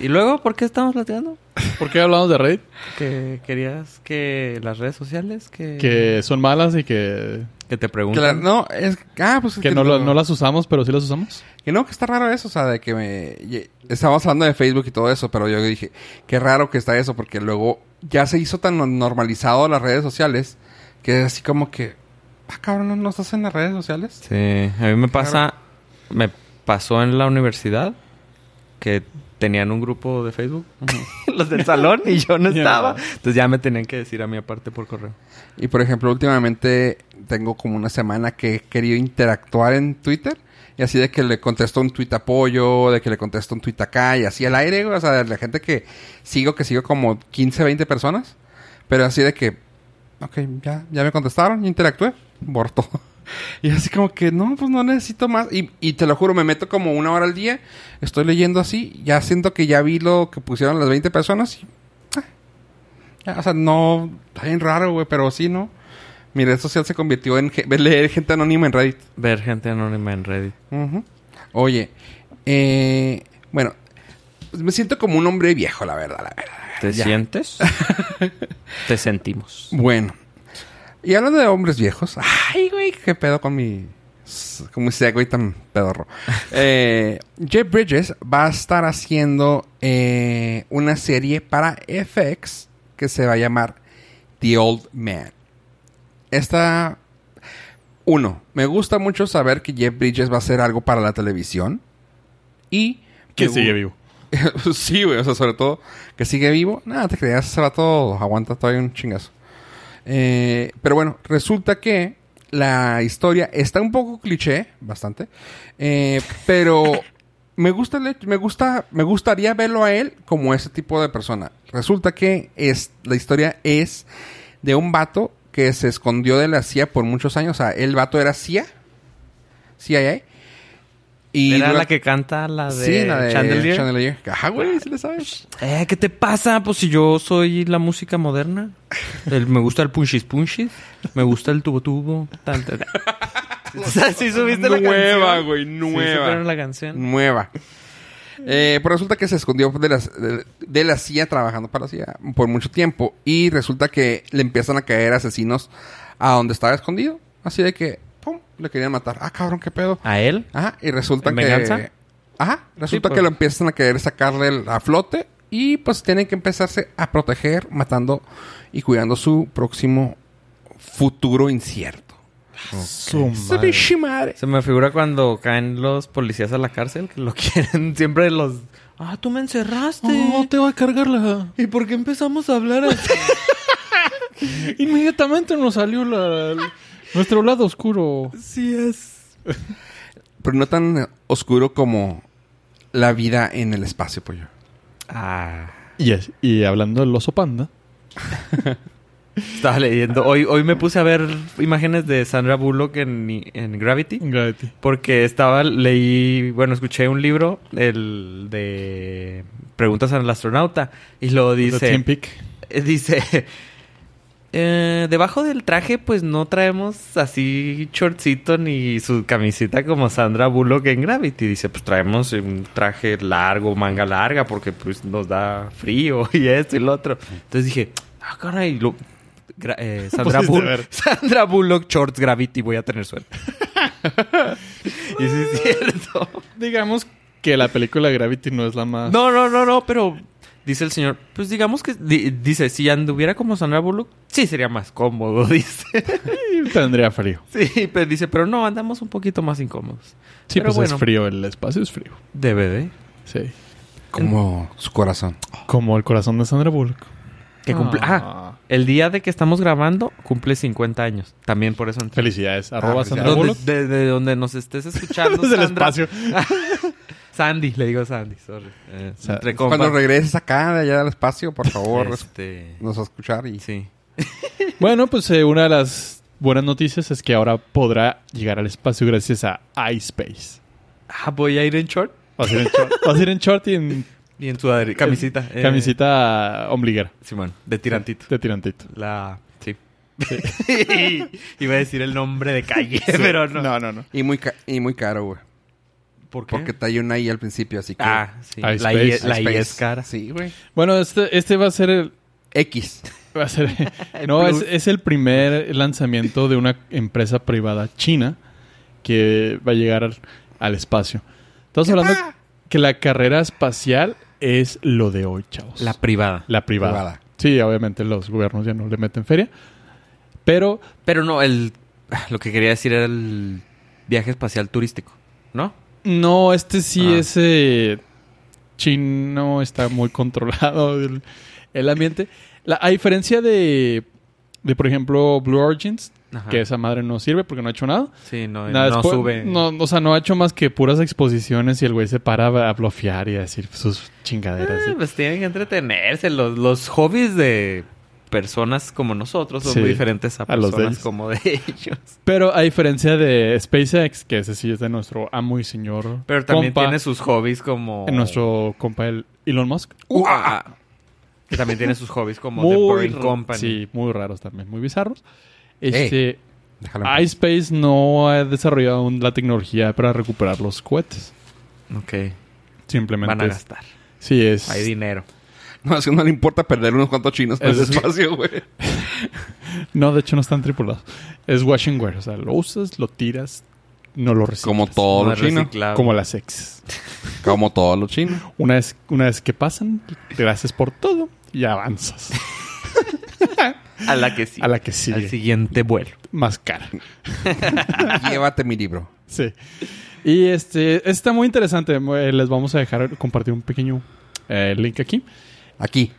C: ¿Y luego por qué estamos platicando?
B: ¿Por qué hablamos de Reddit?
C: Que querías que las redes sociales que,
B: Que son malas y que,
C: que te
A: que la-
C: preguntan.
A: no, es, ah, pues. es
B: que no, lo- no las usamos, pero sí las usamos.
A: Que no, que está raro eso, o sea, de que me... ye- Estábamos hablando de Facebook y todo eso, pero yo dije, qué raro que está eso, porque luego ya se hizo tan no- normalizado las redes sociales, que es así como que, ah, cabrón, ¿no- ¿no estás en las redes sociales?
C: Sí, a mí me pasa, me pasó en la universidad que tenían un grupo de Facebook, los del salón y yo no
B: Ya.
C: estaba, entonces ya me tenían que decir a mí aparte por correo.
A: Y por ejemplo, últimamente tengo como una semana que he querido interactuar en Twitter. Y así de que le contesto un tweet apoyo, de que le contesto un tweet acá, y así al aire, güey. O sea, de la gente que sigo, que sigo como 15, 20 personas. Pero así de que, ok, ya, ya me contestaron, ya interactué, borto. Y así como que, no, pues no necesito más. Y, y te lo juro, me meto como una hora al día, estoy leyendo así, ya siento que ya vi lo que pusieron las 20 personas y ya, O sea, no. Está bien raro, güey, pero sí, ¿no? Mi red social se convirtió en ge- leer gente anónima en Reddit.
C: Ver gente anónima en Reddit.
A: Ujú. Oye, eh, bueno, pues me siento como un hombre viejo, la verdad, la verdad.
C: ¿Te
A: Ya.
C: sientes? Te sentimos.
A: Bueno, y hablando de hombres viejos, ay, güey, qué pedo con mi. con mi segue tan pedorro. Eh, Jeff Bridges va a estar haciendo eh, una serie para FX que se va a llamar The Old Man. Esta. Uno, me gusta mucho saber que Jeff Bridges va a hacer algo para la televisión. Y.
B: Que
A: me gu-
B: sigue vivo.
A: sí, güey. O sea, sobre todo que sigue vivo. Nada, te creas, ese vato aguanta todavía un chingazo. Eh, pero bueno, resulta que la historia está un poco cliché, bastante. eh, pero me gusta, el hecho- me gusta, me gustaría verlo a él como ese tipo de persona. Resulta que es, la historia es de un vato que se escondió de la CIA por muchos años. O sea, el vato era CIA. CIA. Y
C: Era
A: dura-
C: la que canta la de,
A: sí, la de
C: Chandelier.
A: Chandelier. Ajá, güey, sí le sabes.
C: Eh, ¿Qué te pasa? Pues si yo soy la música moderna. El- me gusta el punchis punchis. Me gusta el tubo tubo. Tan, tan, tan. O sea, sí subiste la
A: Nueva,
C: canción.
A: güey,
C: Sí
A: nueva.
C: supieron la canción.
A: Nueva. Eh, pues resulta que se escondió de, las- de, de la CIA trabajando para la CIA por mucho tiempo. Y resulta que le empiezan a caer asesinos a donde estaba escondido. Así de que, pum, le querían matar. Ah, cabrón, qué pedo.
C: ¿A él?
A: Ajá, y resulta
C: ¿En
A: que.
C: venganza?
A: Ajá, resulta
C: Sí,
A: que
C: pues.
A: lo empiezan a querer sacarle el- a flote. Y pues tienen que empezarse a proteger, matando y cuidando su próximo futuro incierto.
B: Su
A: Se
B: madre.
A: pinche madre.
C: Se me figura cuando caen los policías a la cárcel, que lo quieren siempre los... Ah, tú me encerraste.
B: No te va a cargar la...
C: ¿Y por qué empezamos a hablar así?
B: Inmediatamente nos salió la- la- nuestro lado oscuro.
C: Así es.
A: Pero no tan oscuro como la vida en el espacio, pollo.
C: Ah.
B: Yes. Y hablando del oso panda,
C: Estaba leyendo. Hoy, hoy me puse a ver imágenes de Sandra Bullock en, en Gravity.
B: Gravity.
C: Porque estaba, leí, bueno, escuché un libro, el de Preguntas al astronauta, y lo
B: The Team
C: dice,
B: Peak.
C: eh, dice, eh, debajo del traje pues no traemos así shortcito ni su camiseta como Sandra Bullock en Gravity. Dice, pues traemos un traje largo, manga larga, porque pues nos da frío y esto y lo otro. Entonces dije, ah, caray, lo- gra- eh, Sandra,
B: Pusiste
C: Bull-
B: a ver.
C: Sandra Bullock, shorts, Gravity, voy a tener suerte. y sí es cierto.
B: Digamos que la película Gravity no es la más...
C: No, no, no, no, pero dice el señor, pues digamos que, di- dice, si anduviera como Sandra Bullock, sí sería más cómodo, dice.
B: Y Tendría frío.
C: Sí, pero dice, pero no, andamos un poquito más incómodos.
B: Sí,
C: Pero
B: pues
C: bueno.
B: es frío. El espacio es frío.
C: DVD.
B: Sí.
A: Como su corazón.
B: Como el corazón de Sandra Bullock.
C: Que cumple, ah. el día de que estamos grabando cumple 50 años. También por eso. entré.
B: Felicidades.
C: Ah,
B: Arroba
A: felicidades.
B: Sandra
C: Donde,
B: Bullock.
C: de, de donde nos estés escuchando,
B: Desde el
C: Sandra-
B: espacio.
C: Sandy, le digo Sandy, sorry. Eh,
B: Sa-
C: entre
A: Cuando
C: compas.
A: regreses acá de allá del espacio, por favor,
C: Este,
A: nos va a escuchar y
C: sí.
B: Bueno, pues eh, una de las buenas noticias es que ahora podrá llegar al espacio gracias a iSpace.
C: Ah, voy a ir en short
B: Vas a ir en short, vas a ir en short y en
C: y en sudadera, camisita. eh,
B: camisita ombliguera
C: Simón, de tirantito.
B: de tirantito.
C: La. Sí. Iba a decir el nombre de calle, pero no.
B: No, no, no.
A: y muy ca- y muy caro, güey.
C: ¿Por qué?
A: Porque trae una I al principio, así que
C: ah, sí.
B: Ice
C: La I,
B: Space.
C: la I
A: Space.
C: es cara.
A: Sí, güey.
B: Bueno, este, este va a ser el...
A: X.
B: Va a ser, no, es,
C: plus.
B: es el primer lanzamiento de una empresa privada china que va a llegar al, al espacio. Estamos hablando que la carrera espacial es lo de hoy, chavos.
C: La privada.
B: La privada.
A: Privada.
B: Sí, obviamente los gobiernos ya no le meten feria. Pero
C: Pero no, el. Lo que quería decir era el viaje espacial turístico, ¿no?
B: no, este sí,
C: Ah.
B: ese chino está muy controlado el, el ambiente. La, a diferencia de, de, por ejemplo, Blue Origins,
C: Ajá.
B: que esa madre no sirve porque no ha hecho nada.
C: Sí, no,
B: Nada,
C: no
B: después-
C: sube.
B: no, o sea, no ha hecho más que puras exposiciones y el güey se para a bloquear y a decir sus
C: Ah,
B: chingaderas. ¿sí?
C: pues tienen que entretenerse. Los, los hobbies de personas como nosotros son
B: Sí,
C: muy diferentes a
B: a los de
C: personas
B: ellos.
C: como de ellos.
B: Pero a diferencia de SpaceX, que ese sí es de nuestro amo y señor.
C: Pero también
B: compa,
C: tiene sus hobbies como.
B: en nuestro compa el Elon Musk.
C: ¡Uah! Que también tiene sus hobbies como The Boring
B: ra-
C: Company.
B: Sí, muy raros también, muy bizarros. Este,
A: Déjalo.
B: iSpace no ha desarrollado aún la tecnología para recuperar los cohetes.
C: Ok.
B: Simplemente
C: Van a
B: es-
C: gastar.
B: sí es.
C: Hay dinero.
A: No, es que no le importa perder unos cuantos chinos en el
B: Eso sí.
A: espacio, güey.
C: pues,
B: No, de hecho no están tripulados. Es wash and wear, o sea, lo usas, lo tiras, no lo reciclas.
A: Como todo
C: No
A: lo
C: es
A: chino.
C: reciclable.
B: Como las ex.
A: Como todo lo chino.
B: Una vez, una vez que pasan, gracias por todo y avanzas
C: A la que sí.
B: a la que sigue,
C: Al siguiente vuelo.
B: más cara.
A: Llévate mi libro.
B: Sí. Y este está muy interesante. Eh, Les vamos a dejar compartir un pequeño eh, link aquí.
A: Aquí.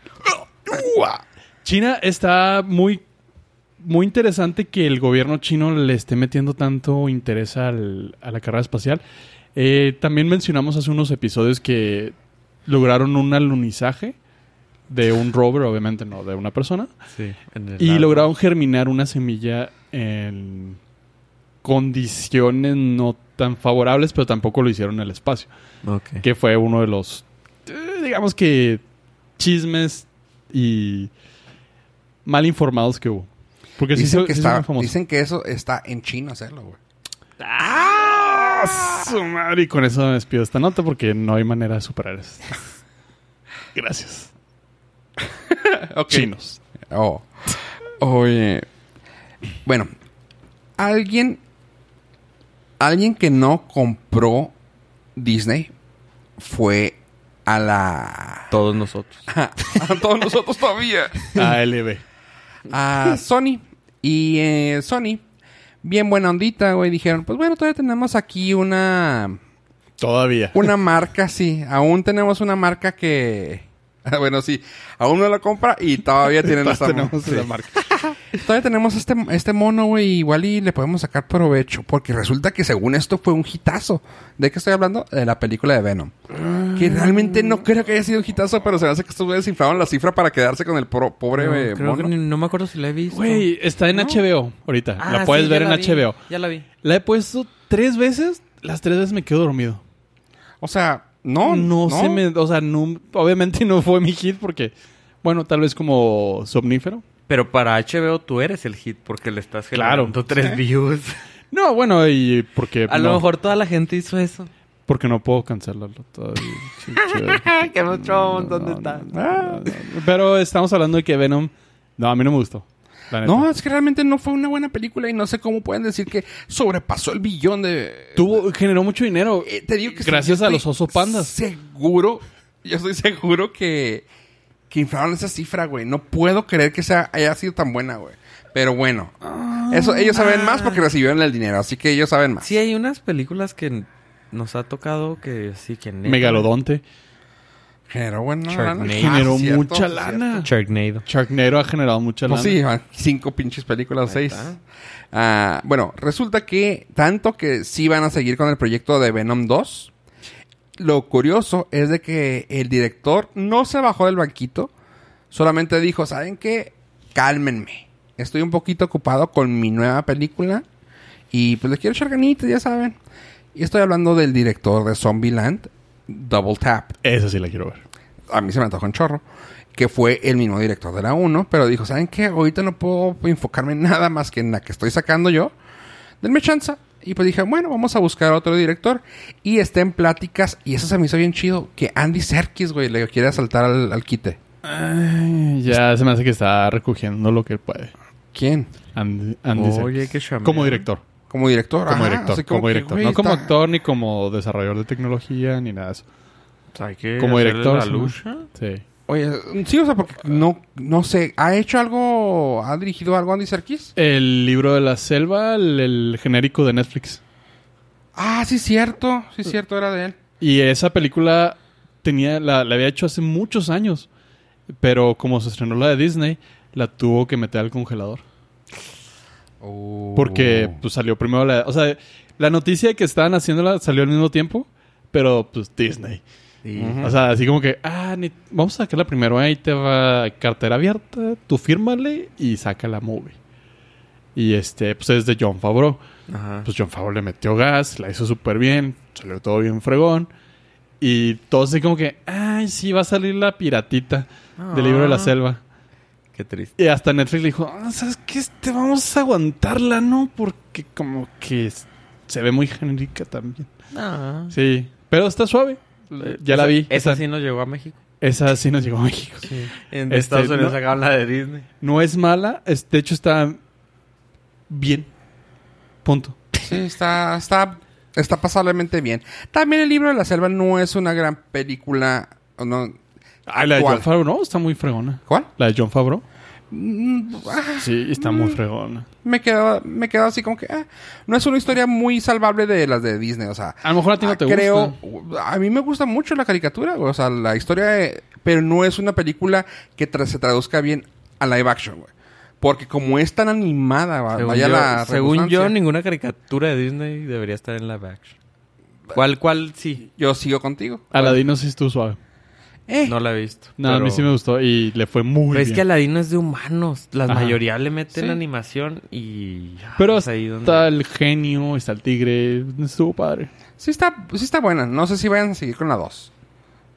B: China está muy, muy interesante que el gobierno chino le esté metiendo tanto interés al- a la carrera espacial. Eh, también mencionamos hace unos episodios que lograron un alunizaje de un rover, obviamente no de una persona,
C: Sí. en el
B: y
C: árbol.
B: lograron germinar una semilla en condiciones no tan favorables, pero tampoco lo hicieron en el espacio
C: Ok.
B: que fue uno de los, eh, digamos que, chismes y mal informados que hubo. Porque sí,
A: Dicen,
B: se-
A: que
B: sí se
A: está-
B: hizo muy famoso.
A: dicen que eso está en China hacerlo, güey.
B: ¡Ah! Su madre! Y con eso me despido de esta nota porque no hay manera de superar eso. Gracias.
A: Ok.
B: Chinos.
A: Oh. Oye. Bueno. Alguien. Alguien que no compró Disney fue a la...
C: Todos nosotros.
A: a todos nosotros todavía.
B: ALB.
A: a Sony. Y eh, Sony, bien buena ondita, güey. Dijeron, pues bueno, todavía tenemos aquí una...
B: Todavía.
A: Una marca, sí. Aún tenemos una marca que... Bueno, sí. Aún no la compra y todavía tienen esta
B: Tenemos
A: marca.
B: la marca.
A: Todavía tenemos este, este mono, güey. Igual y le podemos sacar provecho. Porque resulta que según esto fue un hitazo. ¿De qué estoy hablando? De la película de Venom.
C: Ah.
A: Que realmente no creo que haya sido un hitazo. Pero se me hace que estos güeyes inflaron la cifra para quedarse con el pro- pobre eh,
C: No, creo que
A: mono.
C: ni- no me acuerdo si la he visto.
B: Güey, está en HBO ahorita.
C: Ah,
B: la puedes
C: sí, ya
B: ver en
C: la vi,
B: HBO.
C: Ya la vi.
B: La he puesto tres veces. Las tres veces me quedo dormido.
A: O sea, no.
B: no, se me... O sea, no, obviamente no fue mi hit porque... Bueno, tal vez como somnífero.
C: Pero para HBO tú eres el hit porque le estás
B: Claro.
C: generando tres views.
B: No, bueno, y porque...
C: A
B: no,
C: lo mejor toda la gente hizo eso.
B: Porque no puedo cancelarlo todavía. Sí, chévere.
C: que no chon, ¿dónde
B: No,
C: está?
B: no, no, no, no. Pero estamos hablando de que Venom... No, a mí no me gustó. la neta.
A: No, es que realmente no fue una buena película. Y no sé cómo pueden decir que sobrepasó el billón de.
B: Tuvo, generó mucho dinero.
A: Eh, te digo que
B: Gracias
A: yo
B: a
A: estoy
B: los oso pandas.
A: Seguro, yo estoy seguro que, que inflaron esa cifra, güey. No puedo creer que sea, haya sido tan buena, güey. Pero bueno, eso ellos saben más porque recibieron el dinero, así que ellos saben más.
C: Sí, hay unas películas que nos ha tocado que sí que... neta.
B: Megalodonte.
A: Pero bueno,
C: Sharknado.
A: lana.
B: Generó
A: Ah, cierto,
B: mucha
A: cierto.
B: lana.
C: Sharknado.
B: Sharknado ha generado mucha
A: Pues
B: lana.
A: sí, van cinco pinches películas,
C: Ahí
A: seis.
C: está.
A: Ah, bueno, resulta que tanto que sí van a seguir con el proyecto de Venom 2. Lo curioso es de que el director no se bajó del banquito, solamente dijo, ¿saben qué? Cálmenme. Estoy un poquito ocupado con mi nueva película y pues les quiero echar ganitas, ya saben. Y estoy hablando del director de Zombieland, Double Tap
B: Esa sí la quiero ver.
A: a mí se me antojó un chorro, que fue el mismo director de la 1, pero dijo, ¿saben qué? Ahorita no puedo enfocarme en nada más que en la que estoy sacando yo. Denme chance. Y pues dije, bueno, vamos a buscar a otro director. Y está en pláticas, y eso se me hizo bien chido, que Andy Serkis, güey, le quiere asaltar al, al quite.
B: Ay, ya se me hace que está recogiendo lo que puede.
A: ¿Quién?
B: Andy, Andy
C: Oye,
B: Serkis.
C: qué chameo.
B: Como director.
A: Como director.
B: Como
A: Ajá,
B: director.
A: así
B: como
A: que,
B: director.
A: güey,
B: no como
A: está-
B: actor ni como desarrollador de tecnología ni nada de eso.
C: O sea, Pues hay que
B: Como
C: hacerle
B: director.
C: La
B: se me-
C: lucha.
B: Sí.
A: Oye, sí, o sea, porque no, no sé, ¿ha hecho algo, ha dirigido algo Andy Serkis?
B: El libro de la selva, el, el genérico de Netflix.
A: Ah, sí, cierto, sí, cierto, era de él.
B: Y esa película tenía, la, la había hecho hace muchos años. Pero como se estrenó la de Disney, la tuvo que meter al congelador. Porque
C: Oh.
B: pues, salió primero la... O sea, la noticia que estaban haciéndola salió al mismo tiempo, pero pues Disney. O sea, así como que, ah, ni- vamos a sacarla primero, ahí te va cartera abierta, tú fírmale y saca la movie. Y este, pues es de John Favreau.
C: Ajá.
B: Pues John Favreau le metió gas, la hizo súper bien, salió todo bien fregón. Y todos así como que, ay, sí, va a salir la piratita Pues, del libro de la
C: Ah.
B: selva.
C: Qué triste.
B: Y hasta Netflix le dijo, "Ah, ¿sabes qué? Te vamos a aguantarla, ¿no? Porque como que es- se ve muy genérica también.
C: Ah.
B: Sí, pero está suave.
C: Eh,
B: Ya la vi.
C: Esa
B: Esa,
C: sí nos llegó a México.
B: esa sí nos llegó a México.
C: En
B: Este,
C: Estados Unidos
B: no-
C: sacaron la de Disney.
B: No es mala, es- de hecho está bien. Punto.
A: Sí, está, está, está pasablemente bien. También el libro de la selva no es una gran película. ¿o no?
B: Ah, la de
A: ¿Cuál?
B: John Favreau, no, está muy fregona.
A: ¿Cuál?
B: La de John Favreau.
A: Mm, ah,
B: Sí, está muy
C: mm.
B: fregona.
A: me quedaba, me quedaba así como que ah, no es una historia muy salvable de las de Disney. O sea, ah,
B: A lo mejor Ah, a ti no
C: Ah,
B: te
A: creo,
B: gusta.
A: a mí me gusta mucho la caricatura, güey, o sea, la historia, eh, pero no es una película que tra- se traduzca bien a live action, güey. Porque como es tan animada, va-
C: Según,
A: Ah, vaya
C: yo,
A: la
C: según yo,
A: redundancia.
C: ninguna caricatura de Disney debería estar en live action. ¿Cuál, cuál sí?
A: yo sigo contigo.
B: Aladino sí estuvo suave.
A: Eh,
C: No la he visto.
B: No, a
C: pero-
B: mí sí me gustó y le fue muy
C: Pero
B: bien.
C: es que Aladino es de humanos. La
B: Ajá.
C: mayoría le meten
A: Sí.
C: animación y...
B: Pero
C: es ahí donde...
B: está el genio, está el tigre, estuvo padre.
A: sí está, sí está buena. No sé si vayan a seguir con la 2.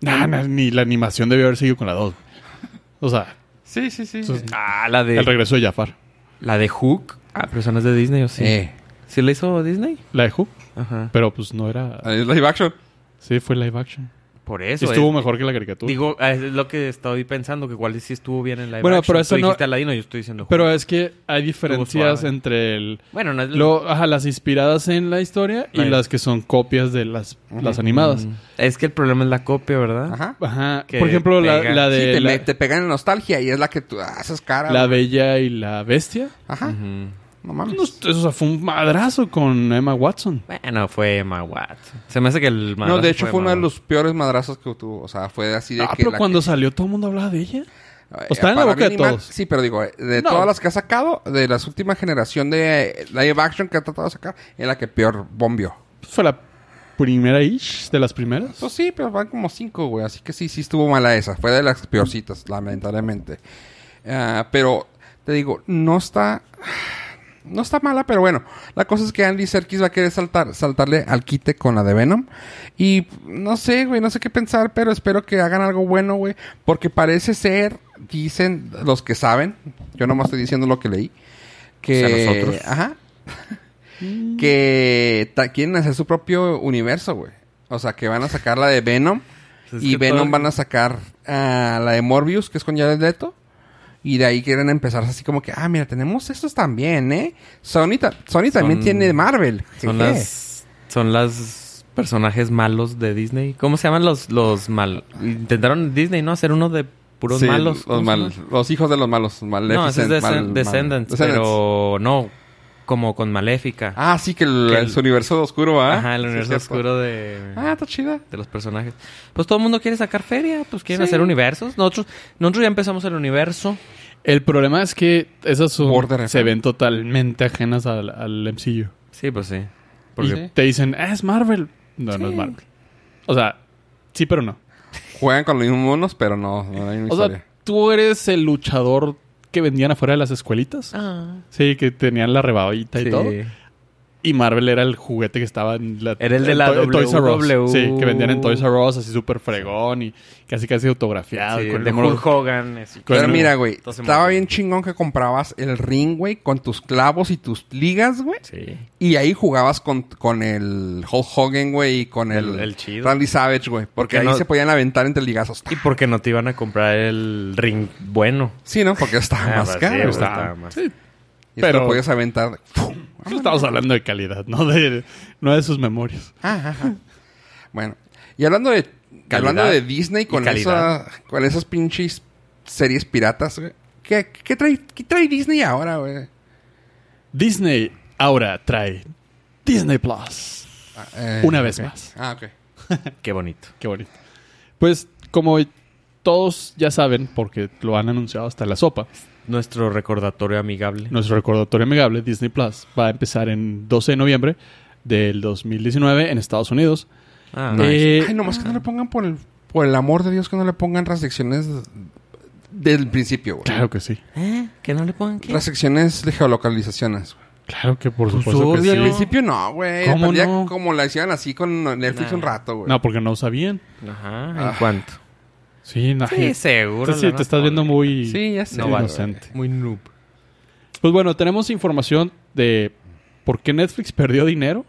B: Nah, nah, ni la animación debió haber seguido con la 2. O sea,
A: Sí, sí, sí.
B: Entonces,
C: Ah, la
B: el
C: de...
B: regreso de Jafar.
C: La de Hook. Ah, personas de Disney, ¿o sí?
A: Eh.
C: ¿Sí la hizo Disney?
B: La de Hook,
C: Ajá.
B: pero pues no era...
A: Ah, Es live action.
B: Sí, fue live action.
C: Por
B: Sí
C: eso.
B: estuvo
C: es-
B: mejor que la caricatura.
C: Digo, ah, es lo que estoy pensando, que igual sí estuvo bien en la
B: Bueno,
C: live action.
B: pero eso
C: Tú
B: no-
C: dijiste Aladino, yo estoy diciendo...
B: pero
C: Hulk.
B: es que hay diferencias
C: suave.
B: entre el,
C: Bueno, no es...
B: lo- ajá, las inspiradas en la historia y
C: Ahí.
B: las que son copias de las, las animadas.
C: Mm, Es que el problema es la copia, ¿verdad?
A: Ajá.
B: Ajá.
C: Que
B: Por ejemplo, la,
C: pega.
B: la
A: Sí,
B: de
A: te,
B: la,
A: me- te pegan en nostalgia y es la que tú haces cara.
B: La
A: güey.
B: Bella y la Bestia.
A: Ajá.
C: Ujú.
A: No mames.
B: No, eso o sea, fue un madrazo con Emma Watson.
C: Bueno, fue Emma Watson. Se me hace que el
A: No,
C: madrazo
A: de hecho fue
C: Emma
A: uno de
C: Watson.
A: los peores madrazos que tuvo. O sea, fue así de
B: Ah,
A: que...
B: pero
A: la
B: cuando
A: que-
B: salió todo el mundo hablaba de ella.
A: eh,
B: pues, está en la
A: para
B: boca de
A: bien y mal-
B: todos.
A: Sí, pero digo, eh, de
B: No.
A: todas las que ha sacado, de las últimas generación de live action que ha tratado de sacar, es la que peor bombió.
B: Pues fue la primera ish de las primeras.
A: Pues sí, pero van como cinco, güey. Así que sí, sí estuvo mala esa. Fue de las peorcitas, lamentablemente. Ah, pero te digo, no está. No está mala, pero bueno. La cosa es que Andy Serkis va a querer saltar, saltarle al quite con la de Venom. Y no sé, güey, no sé qué pensar, pero espero que hagan algo bueno, güey. Porque parece ser, dicen los que saben, yo nomás estoy diciendo lo que leí, que...
C: O sea, nosotros.
A: Ajá. que ta- quieren hacer su propio universo, güey. O sea, que van a sacar la de Venom.
C: Pues es
A: y
C: que
A: Venom
C: todo-
A: van a sacar ah, la de Morbius, que es con Jared Leto. Y de ahí quieren empezar así como que, ah, mira, tenemos estos también, ¿eh? Sony, ta- Sony también
C: Son-
A: tiene Marvel.
C: Son
A: Jeje.
C: las... Son las personajes malos de Disney. ¿Cómo se llaman los, los mal? Intentaron Disney, ¿no? Hacer uno de puros
A: Sí,
C: malos.
A: Los,
C: ¿Cómo se
A: mal-
C: llama?
A: los hijos de los malos. Maleficent,
C: No, ese es Descend-
A: mal- mal-
C: Descendants,
A: Descendants.
C: pero no como con Maléfica.
A: Ah, sí, que el,
C: Que
A: el-
C: el-
A: su universo oscuro, ¿ah?
C: Ajá, el
A: Sí,
C: universo
A: cierto.
C: oscuro de,
A: Ah, está chida.
C: de los personajes. Pues todo el mundo quiere sacar feria, pues quieren
A: Sí.
C: hacer universos. Nosotros, nosotros ya empezamos el universo.
B: El problema es que esas son-
A: Border
B: se
A: FM.
B: ven totalmente ajenas al, al MCU.
C: Sí, pues sí.
B: Porque
C: Porque
B: te dicen, "Ah, es Marvel. No, no es Marvel. O sea, sí, pero no.
A: Juegan con los mismos monos, pero no, no hay una
B: O
A: historia.
B: sea, tú eres el luchador que vendían afuera de las escuelitas.
C: Ah.
B: Sí, que tenían la rebabita y
C: Sí.
B: todo. Y Marvel era el juguete que estaba en la...
C: Era el de
B: en
C: la
B: Toy- en Toys R Us.
C: WW.
B: Sí, que vendían en Toys R Us así súper fregón y casi casi autografiado.
C: Sí,
B: y con el
C: de
B: número-
C: Hulk Hogan. así.
B: Con-
A: Pero mira, güey,
C: Entonces,
A: estaba
C: madre.
A: bien chingón que comprabas el ring, güey, con tus clavos y tus ligas, güey.
C: Sí.
A: Y ahí jugabas con, con el Hulk Hogan, güey, y con el,
C: El- el chido.
A: Randy Savage, güey. Porque
C: Porque
A: ahí
C: no-
A: se podían aventar entre ligazos.
C: Y porque no te iban a comprar el ring bueno.
A: Sí, ¿no? Porque estaba
C: Ah,
A: más
C: pues sí,
A: caro.
C: güey,
A: güey.
B: estaba-
C: estaba más-
B: Sí,
A: Y pero...
B: pero-
A: podías aventar. ¡Pum!
B: estamos hablando de calidad, no de, no de sus memorias.
A: Ajá, ajá. Bueno, y hablando de
C: Calidad
A: hablando de Disney con
C: calidad.
A: esa, con esas pinches series piratas, güey. ¿Qué, qué trae, qué trae Disney ahora, güey?
B: Disney ahora trae Disney Plus.
A: Ah, eh,
B: Una vez
A: ok.
B: más.
A: Ah, ok.
C: Qué bonito.
B: Qué bonito. Pues como todos ya saben, porque lo han anunciado hasta la sopa,
C: Nuestro recordatorio amigable.
B: nuestro recordatorio amigable Disney Plus va a empezar en 12 de noviembre del 2019 en Estados Unidos.
C: Ah,
B: Eh,
A: Ay, nomás que no le pongan por el, por el amor de Dios que no le pongan restricciones del principio, güey.
B: Claro que sí.
C: ¿Eh? Que no le pongan qué?
A: Restricciones de geolocalizaciones. güey.
B: Claro que por
C: Pues
B: supuesto que
C: obvio,
A: Al
C: ¿no?
B: sí.
A: principio no, güey.
B: ¿Cómo
A: Al día
B: no?
A: Como la hicieron así con Netflix
C: Nah.
A: un rato, güey.
B: No, porque no sabían.
C: Ajá, ¿en
A: Ah.
C: cuánto?
B: Sí, no,
C: Sí, seguro.
B: Entonces, sí,
C: le van
B: te
C: a
B: estás
C: poner.
B: viendo muy
A: Sí, ya sé.
C: No vale.
B: inocente.
C: Muy noob.
B: Pues bueno, tenemos información de por qué Netflix perdió dinero.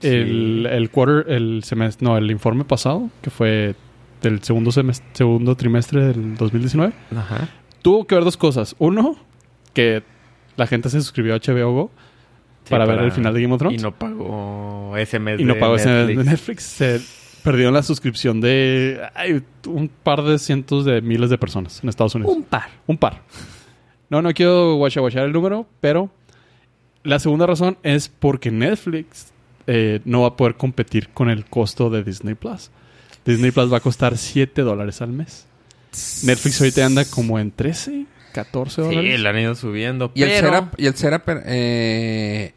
C: Sí.
B: El, el quarter, el semestre, no, el informe pasado, que fue del segundo semestre, segundo trimestre del 2019.
C: Ajá.
B: Tuvo que ver dos cosas. Uno, que la gente se suscribió a HBO Go
C: Sí,
B: para, ver el final de Game of Thrones.
C: Y no pagó ese mes
B: y no
C: de
B: pagó ese
C: Netflix.
B: de Netflix. Se perdieron la suscripción de ay, un par de cientos de miles de personas en Estados Unidos.
C: Un par.
B: Un par. No, no quiero guachaguachar el número, pero la segunda razón es porque Netflix eh, no va a poder competir con el costo de Disney Plus. Disney Plus va a costar 7 dólares al mes. Netflix ahorita anda como en 13, 14
C: Sí,
B: dólares.
C: lo han ido subiendo.
A: ¿Y el
C: pero-
A: Serap, y el Serap eh,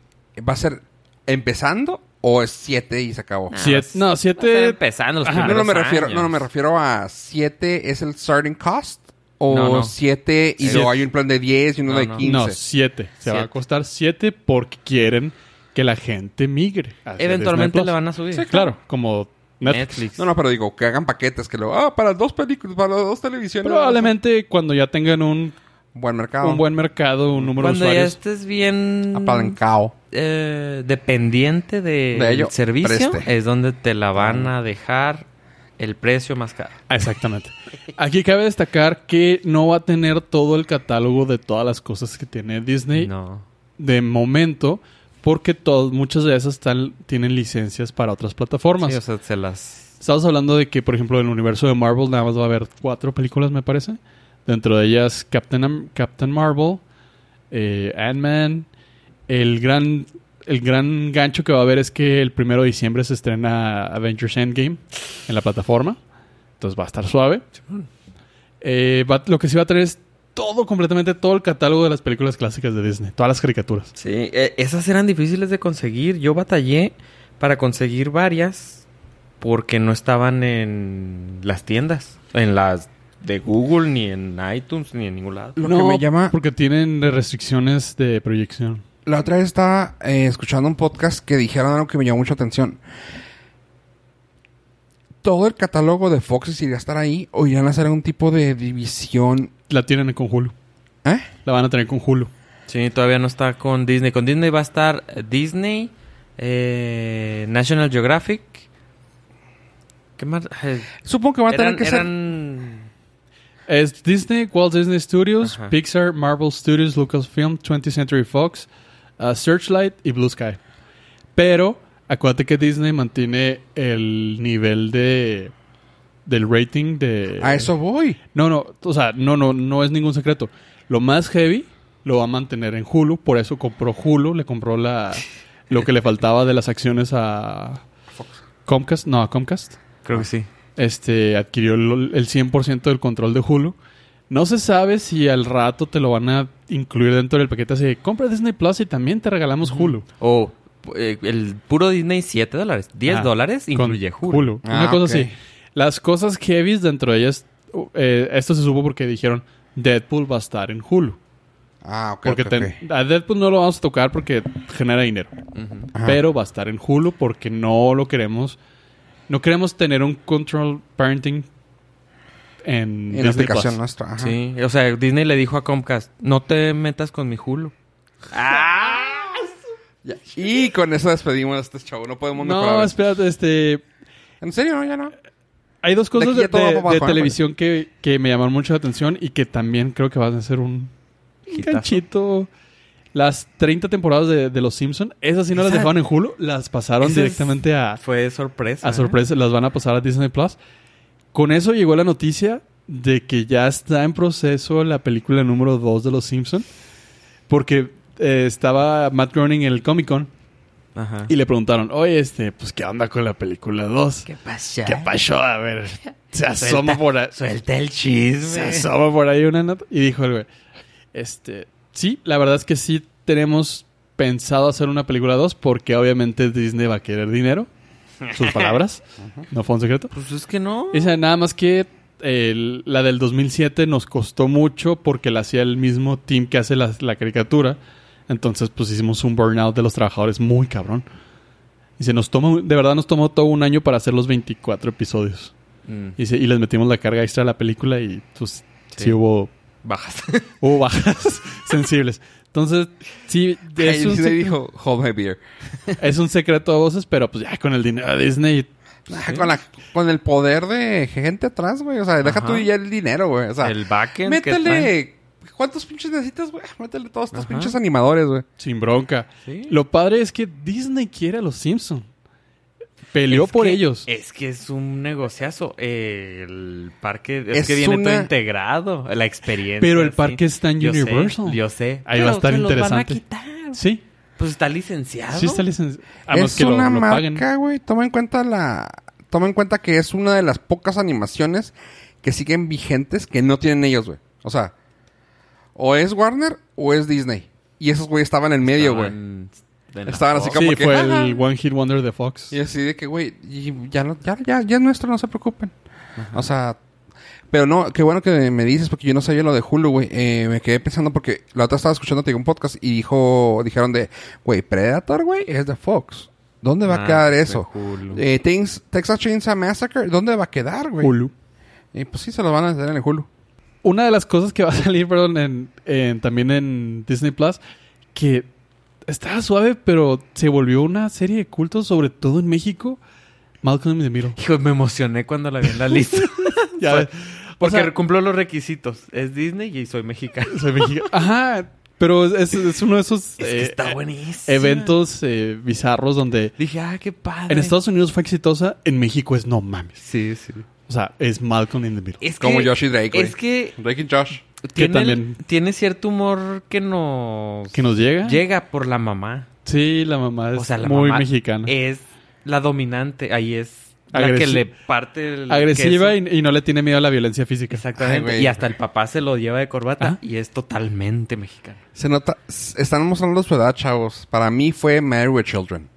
A: va a ser empezando o es 7 y se acabó?
C: Nah,
B: Siete- no, siete-
C: va a estar empezando los
B: Ajá.
A: No, no
C: primeros
A: me refiero,
C: Ah, años.
A: no, no me refiero a 7 es el starting cost
C: No,
A: o
C: no.
A: 7 y
B: Sí.
A: luego hay un plan de 10 y uno
C: No,
A: de
C: no.
A: 15.
B: No, 7. Se va a
C: Siete.
B: costar 7 porque quieren que la gente migre. hacia
C: Eventualmente
B: Disney Plus.
C: le van a subir.
B: Sí, claro, como Netflix.
C: Netflix.
A: No, no, pero digo, que hagan paquetes que luego, ah, para dos películas, para dos televisiones.
B: Probablemente cuando ya tengan un,
A: Buen mercado.
B: un buen mercado, un número
C: Cuando
B: de
C: ya
B: usuarios.
C: estés bien
A: Apalancado.
C: eh, dependiente de, Ah.
A: De ello,
C: servicio,
A: preste.
C: es donde te la van a dejar el precio más caro.
B: Ah, Exactamente. Aquí cabe destacar que no va a tener todo el catálogo de todas las cosas que tiene Disney
C: No.
B: de momento, porque todas, muchas de esas están- tienen licencias para otras plataformas.
C: Sí, o sea, se las...
B: Estamos hablando de que, por ejemplo, en el universo de Marvel nada más va a haber cuatro películas, me parece. Dentro de ellas Captain, Am- Captain Marvel, eh, Ant-Man. El gran, el gran gancho que va a haber es que el primero de diciembre se estrena Avengers Endgame en la plataforma. Entonces va a estar suave. Eh, va- lo que sí va a traer es todo, completamente todo el catálogo de las películas clásicas de Disney. Todas las caricaturas.
C: Sí, eh, esas eran difíciles de conseguir. Yo batallé para conseguir varias porque no estaban en las tiendas. En las de Google, ni en iTunes, ni en ningún lado.
A: Lo que me llama...
B: Porque tienen restricciones de proyección.
A: La otra vez estaba eh, escuchando un podcast que dijeron algo que me llamó mucha atención. Todo el catálogo de Fox iría a estar ahí o irán a hacer algún tipo de división.
B: La tienen con Hulu.
A: ¿Eh?
B: La van a tener con Hulu.
C: Sí, todavía no está con Disney. Con Disney va a estar Disney, eh, National Geographic. ¿Qué más? Eh,
A: Supongo que van a
C: eran-
A: tener que ser.
C: eran-
B: Es Disney, Walt Disney Studios,
C: Ajá.
B: Pixar, Marvel Studios, Lucasfilm, 20th Century Fox, uh, Searchlight y Blue Sky. Pero acuérdate que Disney mantiene el nivel de del rating de
A: A Ah, eso voy.
B: No, no, o sea, no no no es ningún secreto. Lo más heavy lo va a mantener en Hulu, por eso compró Hulu, le compró la lo que le faltaba de las acciones a Comcast, no, a Comcast
C: Creo que sí.
B: este, adquirió el, el 100% del control de Hulu. No se sabe si al rato te lo van a incluir dentro del paquete así de compra Disney Plus y también te regalamos Hulu.
C: O eh, el puro Disney, 7 dólares. 10
B: Ah,
C: dólares
B: Con
C: incluye Hulu.
B: Hulu.
A: Ah,
B: Una cosa
A: ok.
B: así. Las cosas heavies dentro de ellas, uh, eh, esto se supo porque dijeron Deadpool va a estar en Hulu.
A: Ah, ok.
B: Porque
A: ok,
B: te-
A: ok.
B: a Deadpool no lo vamos a tocar porque genera dinero.
C: Ujú.
A: Ajá.
B: Pero va a estar en Hulu porque no lo queremos. No queremos tener un control parenting en,
A: en la
B: Disney
A: aplicación
B: Plus.
A: nuestra. ajá.
C: Sí, o sea, Disney le dijo a Comcast, no te metas con mi Hulu.
A: Ya. Y con eso despedimos a este chavo. No podemos
B: No,
A: mejorar.
B: espérate, este.
A: En serio, no, ya no.
B: Hay dos
A: De
B: cosas
A: aquí
B: de,
A: ya todo
B: de-
A: va para
B: de
A: abajo,
B: televisión que, que me llaman mucho la atención y que también creo que van a ser un
C: Hitazo.
B: ganchito. Las 30 temporadas de, de Los Simpson, esas sí no las
C: Esa-
B: dejaron en Hulu, las pasaron
C: Esa es-
B: directamente a,
C: Fue sorpresa.
B: a
C: ¿eh?
B: sorpresa, las van a pasar a Disney Plus. Con eso llegó la noticia de que ya está en proceso la película número 2 de Los Simpson, porque eh, estaba Matt Groening en el Comic Con
C: Ajá.
B: y le preguntaron, oye, este, pues qué onda con la película 2.
D: ¿Qué pasa?
B: ¿Qué pasó? A ver. Se asoma por ahí.
D: Suelta el chisme.
B: Se asoma por ahí una nota. Y dijo el güey. Este. Sí, la verdad es que sí tenemos pensado hacer una película 2 porque obviamente Disney va a querer dinero. Sus palabras. No fue un secreto.
C: Pues es que no.
B: Dice nada más que el- la del 2007 nos costó mucho porque la hacía el mismo team que hace la, la caricatura. Entonces, pues hicimos un burnout de los trabajadores muy cabrón. Dice, nos toma, de verdad nos tomó todo un año para hacer los 24 episodios.
C: Mm,
B: Y, se- y les metimos la carga extra a la película y pues sí,
C: Sí.
B: hubo,
C: Bajas.
B: hubo bajas sensibles. Entonces, sí, es
A: Ahí
B: un,
A: sí le
B: secre-
A: dijo, hold my beer.
B: es un secreto a voces, pero pues ya con el dinero de Disney.
A: Ah, Con, la, con el poder de gente atrás, güey. O sea, deja
C: Ajá.
A: tú ya el dinero, güey. O sea,
C: el backend. que traen.
A: Métele. ¿Cuántos pinches necesitas, güey? Métele todos estos
C: Ajá.
A: pinches animadores, güey.
B: Sin bronca.
C: Sí.
B: Lo padre es que Disney quiere a los Simpson. Peleó
C: Es
B: por
C: que- eh,
B: ellos.
C: Es que es un negociazo. Eh, el parque es,
A: Es
C: que viene
A: una-
C: todo integrado. La experiencia.
B: Pero el
C: sí.
B: parque está en
C: Yo sé,
B: Universal.
C: yo sé.
B: Ahí va a
C: Pero
B: estar
C: se los van
B: interesante.
C: quitar.
B: Sí,
C: Pues está licenciado.
B: sí está licenciado. A menos
A: es
B: que lo,
A: una
B: lo paguen.
A: marca, güey. Toma en cuenta la. Toma en cuenta que es una de las pocas animaciones que siguen vigentes que no tienen ellos, güey. O sea, o es Warner o es Disney. Y esos, güey, estaban en el medio, güey.
C: Estaban de la
A: Estaban así
C: Fox.
A: como
B: Sí,
A: que,
B: fue
A: "Ajá".
B: el One Hit Wonder de Fox.
A: Y así de que, güey, y ya, no- ya, ya, ya es nuestro, no se preocupen. O sea, pero no, qué bueno que me dices, porque yo no sabía lo de Hulu, güey. Eh, me quedé pensando porque la otra estaba escuchando te digo, un podcast y dijo, dijeron de, güey, Predator, güey, es de Fox. ¿Dónde va a
C: Ah,
A: quedar
C: de
A: eso?
C: Hulu.
A: Eh, Things- Texas Chainsaw Massacre, ¿dónde va a quedar, güey?
B: Hulu.
A: Eh, pues sí, se lo van a hacer en el Hulu.
B: Una de las cosas que va a salir, perdón, en, en- también en Disney Plus, que estaba suave, pero se volvió una serie de cultos, sobre todo en México. Malcolm in the Middle.
C: Hijo, me emocioné cuando la vi en la lista.
B: Ya
C: Fue-
B: ves.
C: Porque
B: O sea-
C: cumplió los requisitos. Es Disney y soy mexicano.
B: Soy mexicano. Ajá, pero es, es uno de esos
C: Es
B: eh,
C: que está
B: eh,
C: buenísimo.
B: eventos eh, bizarros donde
C: Dije, ah, qué padre.
B: en Estados Unidos fue exitosa, en México es no mames.
C: Sí, sí.
B: O sea, es Malcolm in the Middle.
C: Es
A: Como
C: que-
A: Josh y Drake, güey.
C: Es que
A: Drake y Josh.
C: tiene,
B: también-
C: tiene cierto humor que nos,
B: ¿Que nos llega?
C: llega por la mamá.
B: Sí, la mamá es
C: O sea, la
B: muy
C: mamá
B: mexicana.
C: Es la dominante. Ahí es la
B: Agresi-
C: que le parte el
B: Agresiva
C: queso.
B: y, y no le tiene miedo a la violencia física.
A: Ay,
C: Exactamente.
A: güey.
C: y hasta el papá se lo lleva de corbata
B: Ajá.
C: y es totalmente mexicano.
A: Se nota... s- Están mostrando su edad, chavos. Para mí fue Married with Children.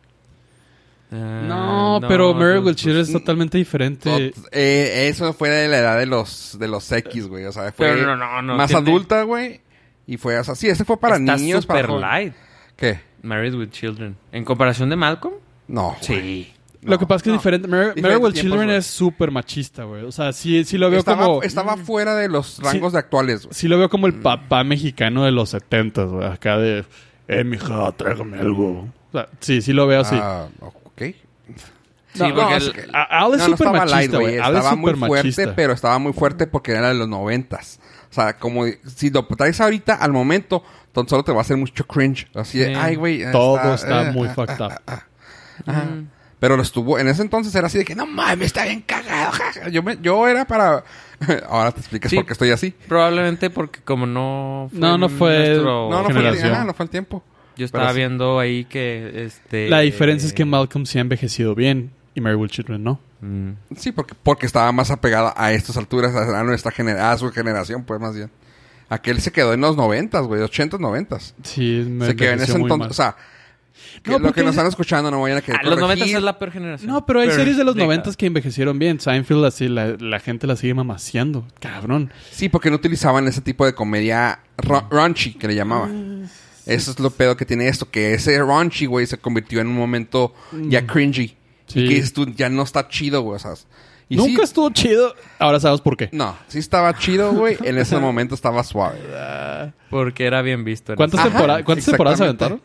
C: Ah,
B: No, pero Mary
C: Merrill
B: Will Cheer es totalmente diferente.
A: Tot- eh, eso fue de la edad de los, de los X, güey. O sea, fue
C: Pero no, no, no
A: más
C: tiene-
A: adulta, güey. Y fue... O sea, sí, ese fue para
C: Está
A: niños.
C: super
A: para jóvenes.
C: light.
A: ¿Qué?
C: Married with Children. ¿En comparación de Malcolm?
A: No, güey.
C: Sí.
B: Lo que pasa es que
A: no.
B: es diferente. Mary,
A: Diferentes
B: Mary Will
A: tiempos,
B: Children
A: güey.
B: es súper machista, güey. O sea, sí, sí lo veo
A: estaba,
B: como...
A: estaba
C: Mm.
A: fuera de los rangos de actuales, güey.
B: Sí lo veo como el papá mexicano de los 70, güey. Acá de... Eh, mija, tráigame algo. O sea, sí, sí lo veo así.
A: Ah, ok.
C: Sí,
B: No,
C: porque
B: no,
C: el-
B: es que- A- Al es súper
A: estaba light,
B: machista, güey. Al es
A: Estaba muy
B: súper
A: fuerte,
B: machista.
A: pero estaba muy fuerte porque era de los noventas. O sea, como si lo traes ahorita al momento, entonces solo te va a hacer mucho cringe. Así de,
C: Sí.
A: ay, güey. eh,
B: Todo está
A: eh,
B: muy
A: ah,
B: fucked up.
A: ajá. Pero lo estuvo, en ese entonces era así de que, no mames, está bien cagado. ja, ja". Yo, me- yo era para. Ahora te explicas
C: Sí.
A: por qué estoy así.
C: Probablemente porque como no...
B: No, no fue-
A: No,
C: nuestro-
A: no fue, el,
B: Generación.
A: ajá, no fue el tiempo.
C: Yo estaba
A: Pero sí.
C: viendo ahí que este...
B: La diferencia es que Malcolm se ha envejecido bien y Mary Will Children no.
C: Mm.
A: Sí, porque, porque estaba más apegada a estas alturas, a, nuestra genera a su generación, pues más bien. Aquel se quedó en los noventas, güey, ochentas, noventas.
B: Sí, me
A: Se quedó en
B: envejeció
A: ese
B: muy
A: entonces.
B: mal.
A: O sea, que
B: No,
A: lo que
B: porque-
A: nos están escuchando no vayan a querer
C: Ah, los
A: corregir.
C: 90 es la peor generación.
B: No, pero hay
C: Peor
B: series de los
C: década.
B: noventas que envejecieron bien. Seinfeld así, la, la gente la sigue mamaciando. Cabrón.
A: Sí, porque no utilizaban ese tipo de comedia ra- raunchy, que le
C: Ah,
A: llamaban. Eso es lo pedo que tiene esto, que ese raunchy, güey, se convirtió en un momento
C: Mm.
A: ya cringy.
B: Sí.
A: Y que dices tú, ya no está chido, güey, o sea... y
B: Nunca
A: sí-
B: estuvo chido. Ahora sabemos por qué.
A: No, sí estaba chido, güey. En ese momento estaba suave. Ah,
C: Porque era bien visto. en
B: ¿Cuántas
C: ese-
A: Ajá,
B: temporadas- cuántas temporadas se
A: exactamente.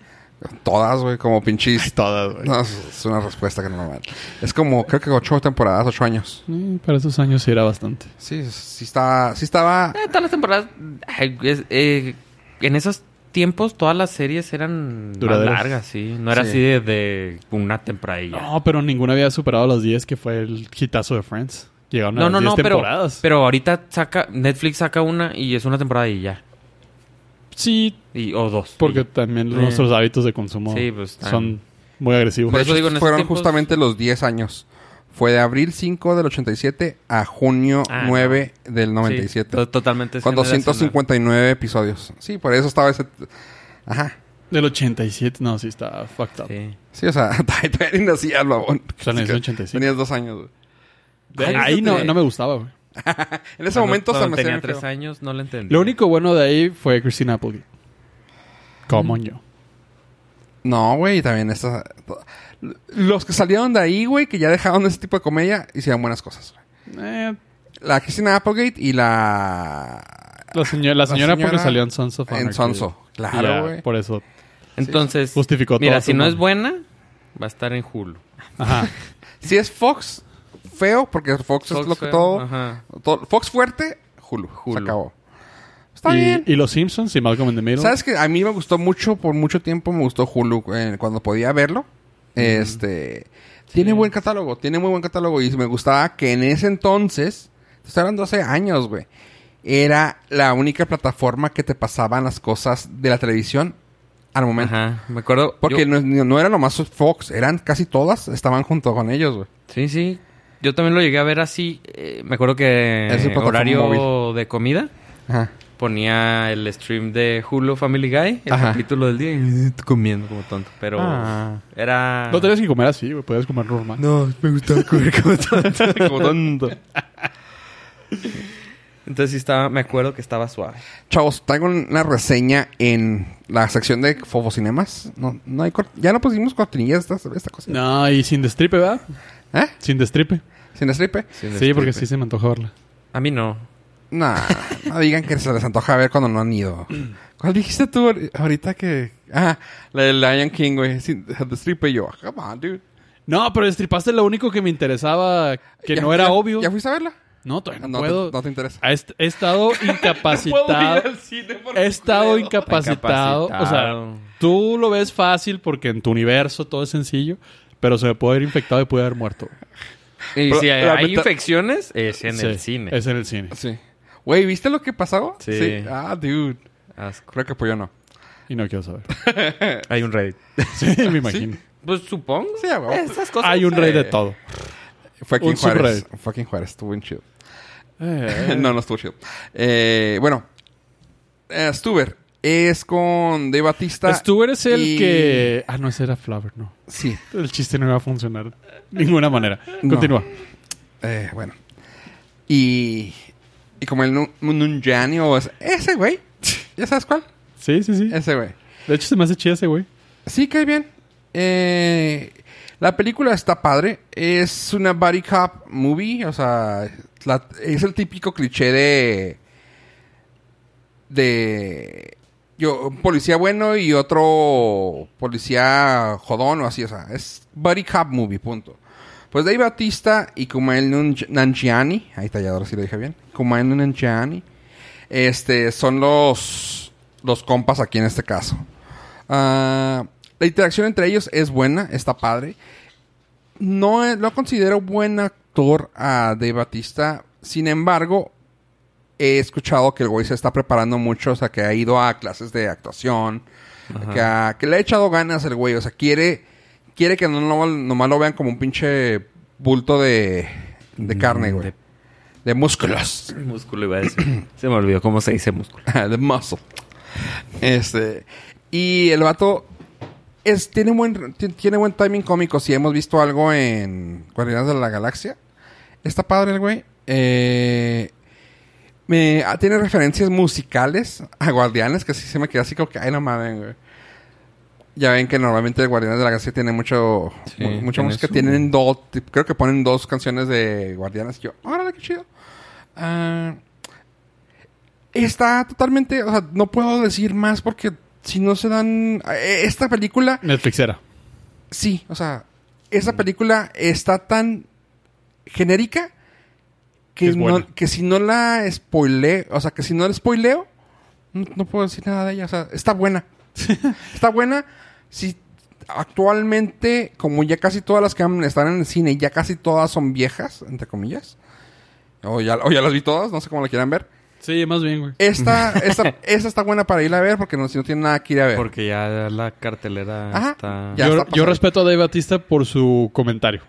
A: Todas, güey, como pinches.
B: Todas, güey.
A: No, es es una respuesta que no me vale. Es como, creo que ocho temporadas, ocho años.
B: Mm, Para esos años sí era bastante.
A: Sí, sí estaba, sí estaba...
C: Ah, todas las temporadas... ay, es- eh, en esos tiempos todas las series eran más
B: Duraderas.
C: largas, sí. No era
A: Sí.
C: así de, de una temporada.
B: No, pero ninguna había superado los 10, que fue el hitazo de Friends. Llegaron a
C: No,
B: las
C: no,
B: 10
C: no, pero,
B: temporadas.
C: pero ahorita saca, Netflix saca una y es una temporada y ya.
B: sí,
C: Y, o dos.
B: porque
C: Y-
B: también
C: Eh.
B: nuestros hábitos de consumo
C: Sí, pues, están-
B: son muy agresivos.
C: Por eso digo, en esos
A: fueron
C: tiempos-
A: justamente los 10 años. Fue de abril 5 del 87 a junio
C: Ah,
A: 9 del
C: Sí,
A: 97.
C: to- totalmente. es
A: con
C: generacional.
A: 259 episodios. Sí, por eso estaba ese... Ajá.
B: Del 87, no, sí está fucked up.
C: Sí.
A: Sí, o sea, todavía ni nacía el babón.
B: O sea, en el
A: Así que
B: 85.
A: Tenías dos años, güey.
B: De
C: Ay,
B: ahí
C: eso
B: no,
C: te-
B: no me gustaba, güey.
A: En ese
C: Cuando-
A: momento se
C: cuando
A: me
C: tenía
A: hacía
C: tres
A: feo.
C: años, no lo entendí.
B: Lo único bueno de ahí fue Christina Applegate. Como yo.
A: No, güey, también esta... Los que salieron de ahí, güey, que ya dejaron ese tipo de comedia, hicieron buenas cosas. güey.
B: Eh,
A: La Christina Applegate y la...
B: la, señora, la, señora porque
A: señora
B: salió en Sons of
A: En
B: Anarchy.
A: Sonso.
B: Y ya,
A: Claro, güey.
B: Por eso.
C: Entonces,
B: Justificó
C: mira,
B: todo
C: si
B: su
C: no
B: mal.
C: es buena, va a estar en Hulu.
B: Ajá.
A: Si es Fox, feo, porque Fox, Pues es
C: Fox
A: lo que
C: fue-
A: todo,
C: Ajá.
A: todo- Fox fuerte, Hulu. Se
C: Hulu.
A: acabó. Está
B: y,
A: bien.
B: y los Simpsons y Malcolm in the Middle.
A: ¿Sabes que A mí me gustó mucho, por mucho tiempo me gustó Hulu eh, cuando podía verlo. Este. Tiene buen catálogo, tiene muy buen catálogo. Y me gustaba que en ese entonces, te estoy hablando hace años, güey, era la única plataforma que te pasaban las cosas de la televisión al momento.
C: Ajá. Me acuerdo.
A: Porque
C: yo-
A: no, no era nomás Fox, eran casi todas, estaban junto con ellos, güey.
C: Sí, sí. Yo también lo llegué a ver así. eh, me acuerdo que
A: Es el plataforma
C: horario
A: móvil.
C: de comida
A: Ajá.
C: ponía el stream de Hulu Family Guy, el
A: Ajá.
C: capítulo del día, y tú comiendo como tonto. Pero
A: Ah.
C: era.
B: No tenías que comer así, güey. Podías comer normal.
C: No, me gustaba comer como tonto. Entonces sí estaba, me acuerdo que estaba suave.
A: Chavos, traigo una reseña en la sección de Fofocinemas. No, no hay cort- Ya no pusimos cortinillas esta, esta cosa.
B: No, y sin destripe, ¿verdad?
A: ¿Eh?
B: Sin destripe.
A: ¿Sin ¿eh? stripe?
B: Sí, porque sí se me antoja verla.
C: A mí no.
A: Nah, no digan que se les antoja ver cuando no han ido. ¿Cuál dijiste tú ahori- ahorita que...? Ah, la de Lion King, güey. Sin- The Stripe y yo. Come on, dude.
B: No, pero destripaste lo único que me interesaba, que
A: Ya-
B: no era
A: ya-
B: obvio.
A: ¿Ya fuiste a verla?
B: No, todavía
A: No
B: no,
A: te-
B: puedo.
A: no te interesa.
B: He est- He estado incapacitado.
C: Eh,
B: He estado incapacitado. O sea,
C: Incapacitado.
B: tú lo ves fácil porque en tu universo todo es sencillo, pero se me puede haber infectado y puede haber muerto.
A: Y
C: Y si hay, hay
A: lamenta-
C: infecciones, es en
B: Sí,
C: el cine.
B: Es en el cine.
A: Sí. Güey, ¿viste lo que pasaba?
C: Sí.
A: Ah, dude.
C: Asco.
A: Creo que pues yo no.
B: Y no quiero saber.
C: Hay un Reddit.
B: Sí, me imagino.
C: Pues supongo.
A: Sí, a huevo.
C: Esas cosas.
B: Hay un rey de
A: eh,
B: todo.
A: Fue aquí
B: Un
A: en Juárez.
B: subreddit.
A: Fue aquí en Juárez. Estuvo bien chido.
B: Eh,
A: no, no estuvo chido. Eh, bueno. eh, Stuber es con De Batista.
B: Stuart es pues el
A: y-
B: que. Ah, no, ese era Flower, no.
A: Sí.
B: El chiste no iba a funcionar de ninguna manera.
A: No.
B: Continúa.
A: Eh, bueno. Y... Y como el Nu- Nunjani o es- ese güey. ¿Ya sabes cuál?
B: Sí, sí, sí.
A: Ese güey.
B: De hecho, se me hace chida ese güey.
A: Sí, cae bien. Eh, la película está padre. Es una body cop movie. O sea, la- es el típico cliché de. de. Yo, un policía bueno y otro policía jodón o así. O sea, es body cop movie, punto. Pues Dave Batista y Kumail Nun- Nanjiani. Ahí está, ya ahora sí lo dije bien. Kumail Nanjiani. Este, son los. los compas aquí en este caso. Ah, la interacción entre ellos es buena, está padre. No, es- lo considero buen actor a De Batista. Sin embargo, he escuchado que el güey se está preparando mucho, o sea, que ha ido a clases de actuación, que, ha- que le ha echado ganas el güey, o sea, quiere, quiere que no, lo- nomás lo vean como un pinche bulto de, de carne, güey.
C: de-
A: de músculos.
C: Músculo iba a decir. se me olvidó cómo se dice músculo.
A: The muscle. Este. Y el vato es, tiene, buen, ti- tiene buen timing cómico. Si hemos visto algo en Guardianes de la Galaxia. Está padre el güey. Eh, me, ah, tiene referencias musicales a Guardianes, que sí se me queda así como que, ay, no mames, güey. Ya ven que normalmente Guardianes de la Galaxia tiene mucho,
C: Sí,
A: mu- mucha
C: tiene
A: música.
C: su-
A: Tienen dos, ti- creo que ponen dos canciones de Guardianes. Yo, órale, qué chido. Ah, está totalmente, o sea, no puedo decir más porque si no se dan... eh, Esta película
B: Netflixera.
A: Sí, o sea, esa película está tan genérica que,
B: Es buena.
A: no, que si no la spoileo, o sea, que si no la spoileo, no, no puedo decir nada de ella. O sea, está buena. está buena. Si actualmente, como ya casi todas las que han- están en el cine, ya casi todas son viejas, entre comillas. O ya, o ya las vi todas, no sé cómo la quieran ver.
B: Sí, más bien, güey.
A: Esta, esta, esta está buena para ir a ver porque no, si no tiene nada que ir a ver.
C: Porque ya la cartelera
A: Ajá.
C: está.
A: Ya
B: yo,
A: está
B: yo
A: pasando.
B: respeto a Dave Batista por su comentario.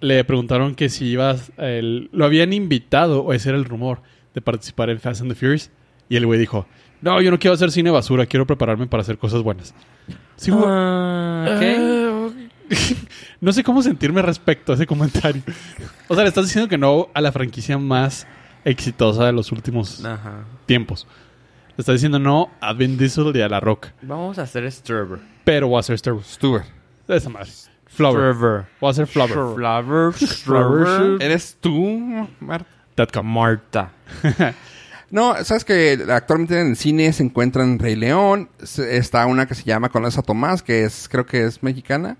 B: Le preguntaron que si ibas. el- lo habían invitado, o ese era el rumor, de participar en Fast and the Furious. Y el güey dijo: No, yo no quiero hacer cine basura, quiero prepararme para hacer cosas buenas. Sí, güey.
C: Ah, ok.
A: Eh.
B: no sé cómo sentirme respecto a ese comentario. O sea, le estás diciendo que no a la franquicia más exitosa de los últimos
C: Ajá.
B: tiempos. Le estás diciendo no a Vin Diesel y a La Roca.
C: Vamos a hacer Sturber.
B: Pero voy a hacer Star Wars.
A: Stuber.
B: Esa madre. Flower. Voy a hacer Flower.
C: Flower.
B: Flower.
C: Eh,
A: ¿Eres tú, Marta?
C: Marta.
A: No, sabes que actualmente en el cine se encuentran Rey León, se- está una que se llama Conesa Tomás, que es creo que es mexicana.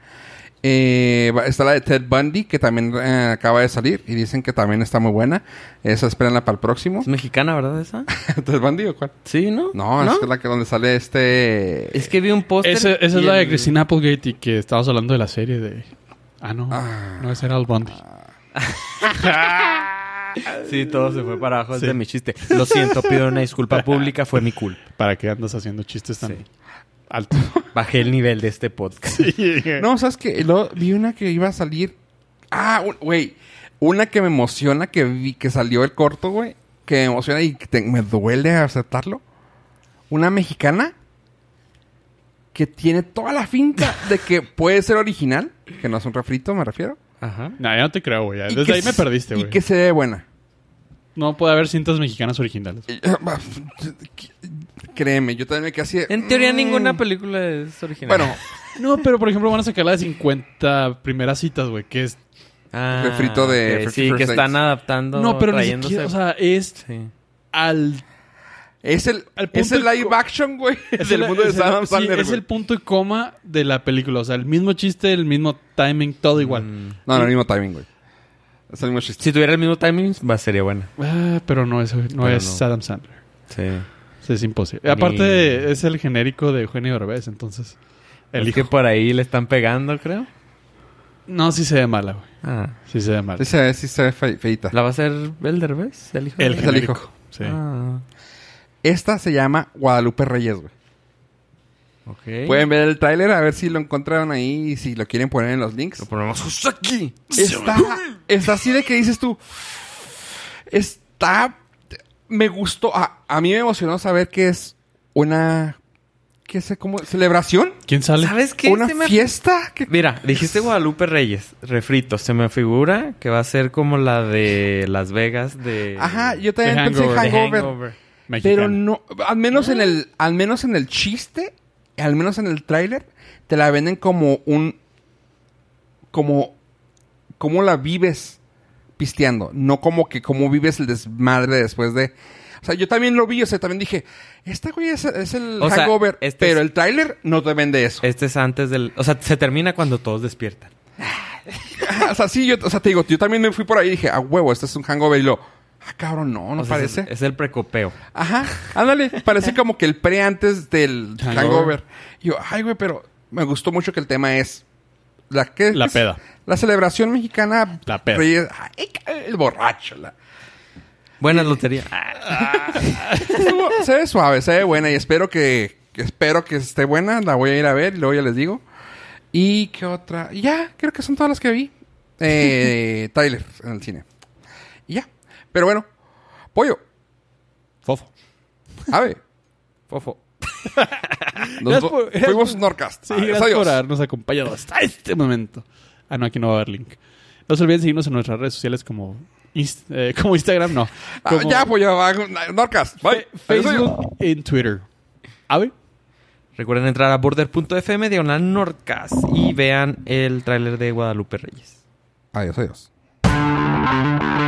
A: Eh, va- está la de Ted Bundy, que también eh, acaba de salir y dicen que también está muy buena. Esa espérenla para el próximo.
C: ¿Es mexicana, verdad, esa?
A: ¿Ted Bundy o cuál?
C: Sí, ¿no?
A: No, esa es la que donde sale este...
C: Es que vi un póster.
B: Esa, esa es
C: y
B: la de
C: el-
B: Christina Applegate y que estabas hablando de la serie de... Ah, no.
A: Ah.
B: No, ese era Al Bundy.
C: Sí, todo se fue para abajo. Es
B: Sí.
C: de mi chiste. Lo siento, pido una disculpa pública. Fue mi culpa.
B: ¿Para qué andas haciendo chistes tan
C: Sí.
B: altos?
C: Bajé el nivel de este podcast.
A: No, sabes que vi una que iba a salir... Ah, un- güey. Una que me emociona, que vi que salió el corto, güey. Que me emociona y que te- me duele aceptarlo. Una mexicana que tiene toda la finta de que puede ser original, que no es un refrito, me refiero.
C: Ajá.
B: No, ya no te creo, güey.
A: y
B: Eh, Desde
A: que
B: ahí me
A: s-
B: perdiste,
A: Y
B: güey.
A: que se ve buena.
B: No puede haber cintas mexicanas originales.
A: Y- Créeme, yo también me quedé así. de,
C: En teoría,
A: mm.
C: ninguna película es original.
A: Bueno,
B: No, pero por ejemplo van a sacar la de 50 primeras citas, güey. Que es...
C: Ah,
A: refrito de
C: ok,
A: Fifty
C: Sí,
A: First
C: que
A: Dates.
C: están adaptando.
B: No, pero ni
C: trayéndose-
B: siquiera... O sea, es
C: Sí.
B: al
A: Es el,
B: Al
A: es
B: punto
A: el
B: y
A: live
B: co-
A: action, güey.
B: Es
A: del
B: el-
A: mundo de
B: es el-
A: Adam
B: sí,
A: Sandler,
B: es
A: güey.
B: el punto y coma de la película. O sea, el mismo chiste, el mismo timing, todo igual.
C: Mm.
A: No, no, el mismo timing, güey. Es el mismo chiste.
C: Si tuviera el mismo timing, va, sería buena.
B: Ah, pero no es, no
C: Pero
B: es
C: no.
B: Adam Sandler.
C: Sí.
B: Sí, es imposible.
C: Ni-
B: Aparte, es el genérico de Eugenio Derbez, entonces. El
C: El que
B: hijo.
C: por ahí le están pegando, creo.
B: No, sí se ve mala, güey.
C: Ah.
B: Sí se ve mala.
A: Sí se ve, sí se ve fe- feíta.
C: ¿La va a hacer el Derbez? ¿El hijo?
B: El
A: es el
C: de-
B: genérico.
A: hijo.
B: Sí.
C: Ah,
A: Esta se llama Guadalupe Reyes, güey.
C: ok.
A: Pueden ver el tráiler a ver si lo encontraron ahí y si lo quieren poner en los links.
C: Lo ponemos justo Pues aquí.
A: Está, está así de que dices tú. Está. Me gustó. A, a mí me emocionó saber que es una. ¿Qué sé cómo? ¿Celebración?
B: ¿Quién sale?
C: ¿Sabes qué?
A: ¿Una
C: Se me-
A: fiesta? ¿Qué-
C: Mira, dijiste Guadalupe Reyes, refrito. Se me figura que va a ser como la de Las Vegas de...
A: Ajá, yo también
B: The
A: pensé
B: Hangover.
A: Hangover.
C: Hangover.
B: Mexicano.
A: Pero no. Al menos en el. Al menos en el chiste. Al menos en el tráiler. Te la venden como un. Como. Como la vives pisteando. No como que como vives el desmadre después de. O sea, yo también lo vi, o sea, también dije, esta güey es, es el
C: O sea,
A: hangover,
C: este
A: pero
C: es-
A: el tráiler no te vende eso.
C: Este es antes del... O sea, se termina cuando todos despiertan.
A: o sea, sí, yo, o sea, te digo, yo también me fui por ahí y dije, a huevo, este es un hangover, y lo, ah, cabrón, no, no
C: O sea,
A: parece.
C: Es, es el precopeo.
A: Ajá, ándale, parece como que el pre antes del
B: Hangover.
A: hangover. Y yo, ay, güey, pero me gustó mucho que el tema es la que
B: La peda.
A: La celebración mexicana.
B: La peda.
A: Reyes- ay, el borracho. la-
C: Buena lotería. Ah,
A: se ve suave, se ve buena y espero que espero que esté buena. La voy a ir a ver y luego ya les digo. ¿Y qué otra? Y Ya, creo que son todas las que vi. Eh, Tyler en el cine. Y ya. Pero bueno, Pollo,
B: Fofo.
A: Ave,
C: fofo.
A: nos
B: Gracias por-
A: fu- fuimos Norcast.
B: Sí,
A: Adiós,
B: Ah, gracias
A: adiós.
B: por habernos acompañado hasta este momento. Ah, no, aquí no va a haber link. No se olviden seguirnos en nuestras redes sociales como, Inst- eh, como Instagram, no.
A: Ah,
B: Como
A: ya, Pollo, ah, Norcast. Bye.
B: Fe-
A: Adiós, adiós.
B: Facebook y en Twitter. ¿Ave?
C: Recuerden entrar a border.fm diagonal Nordcast y vean el tráiler de Guadalupe Reyes.
A: Adiós, adiós.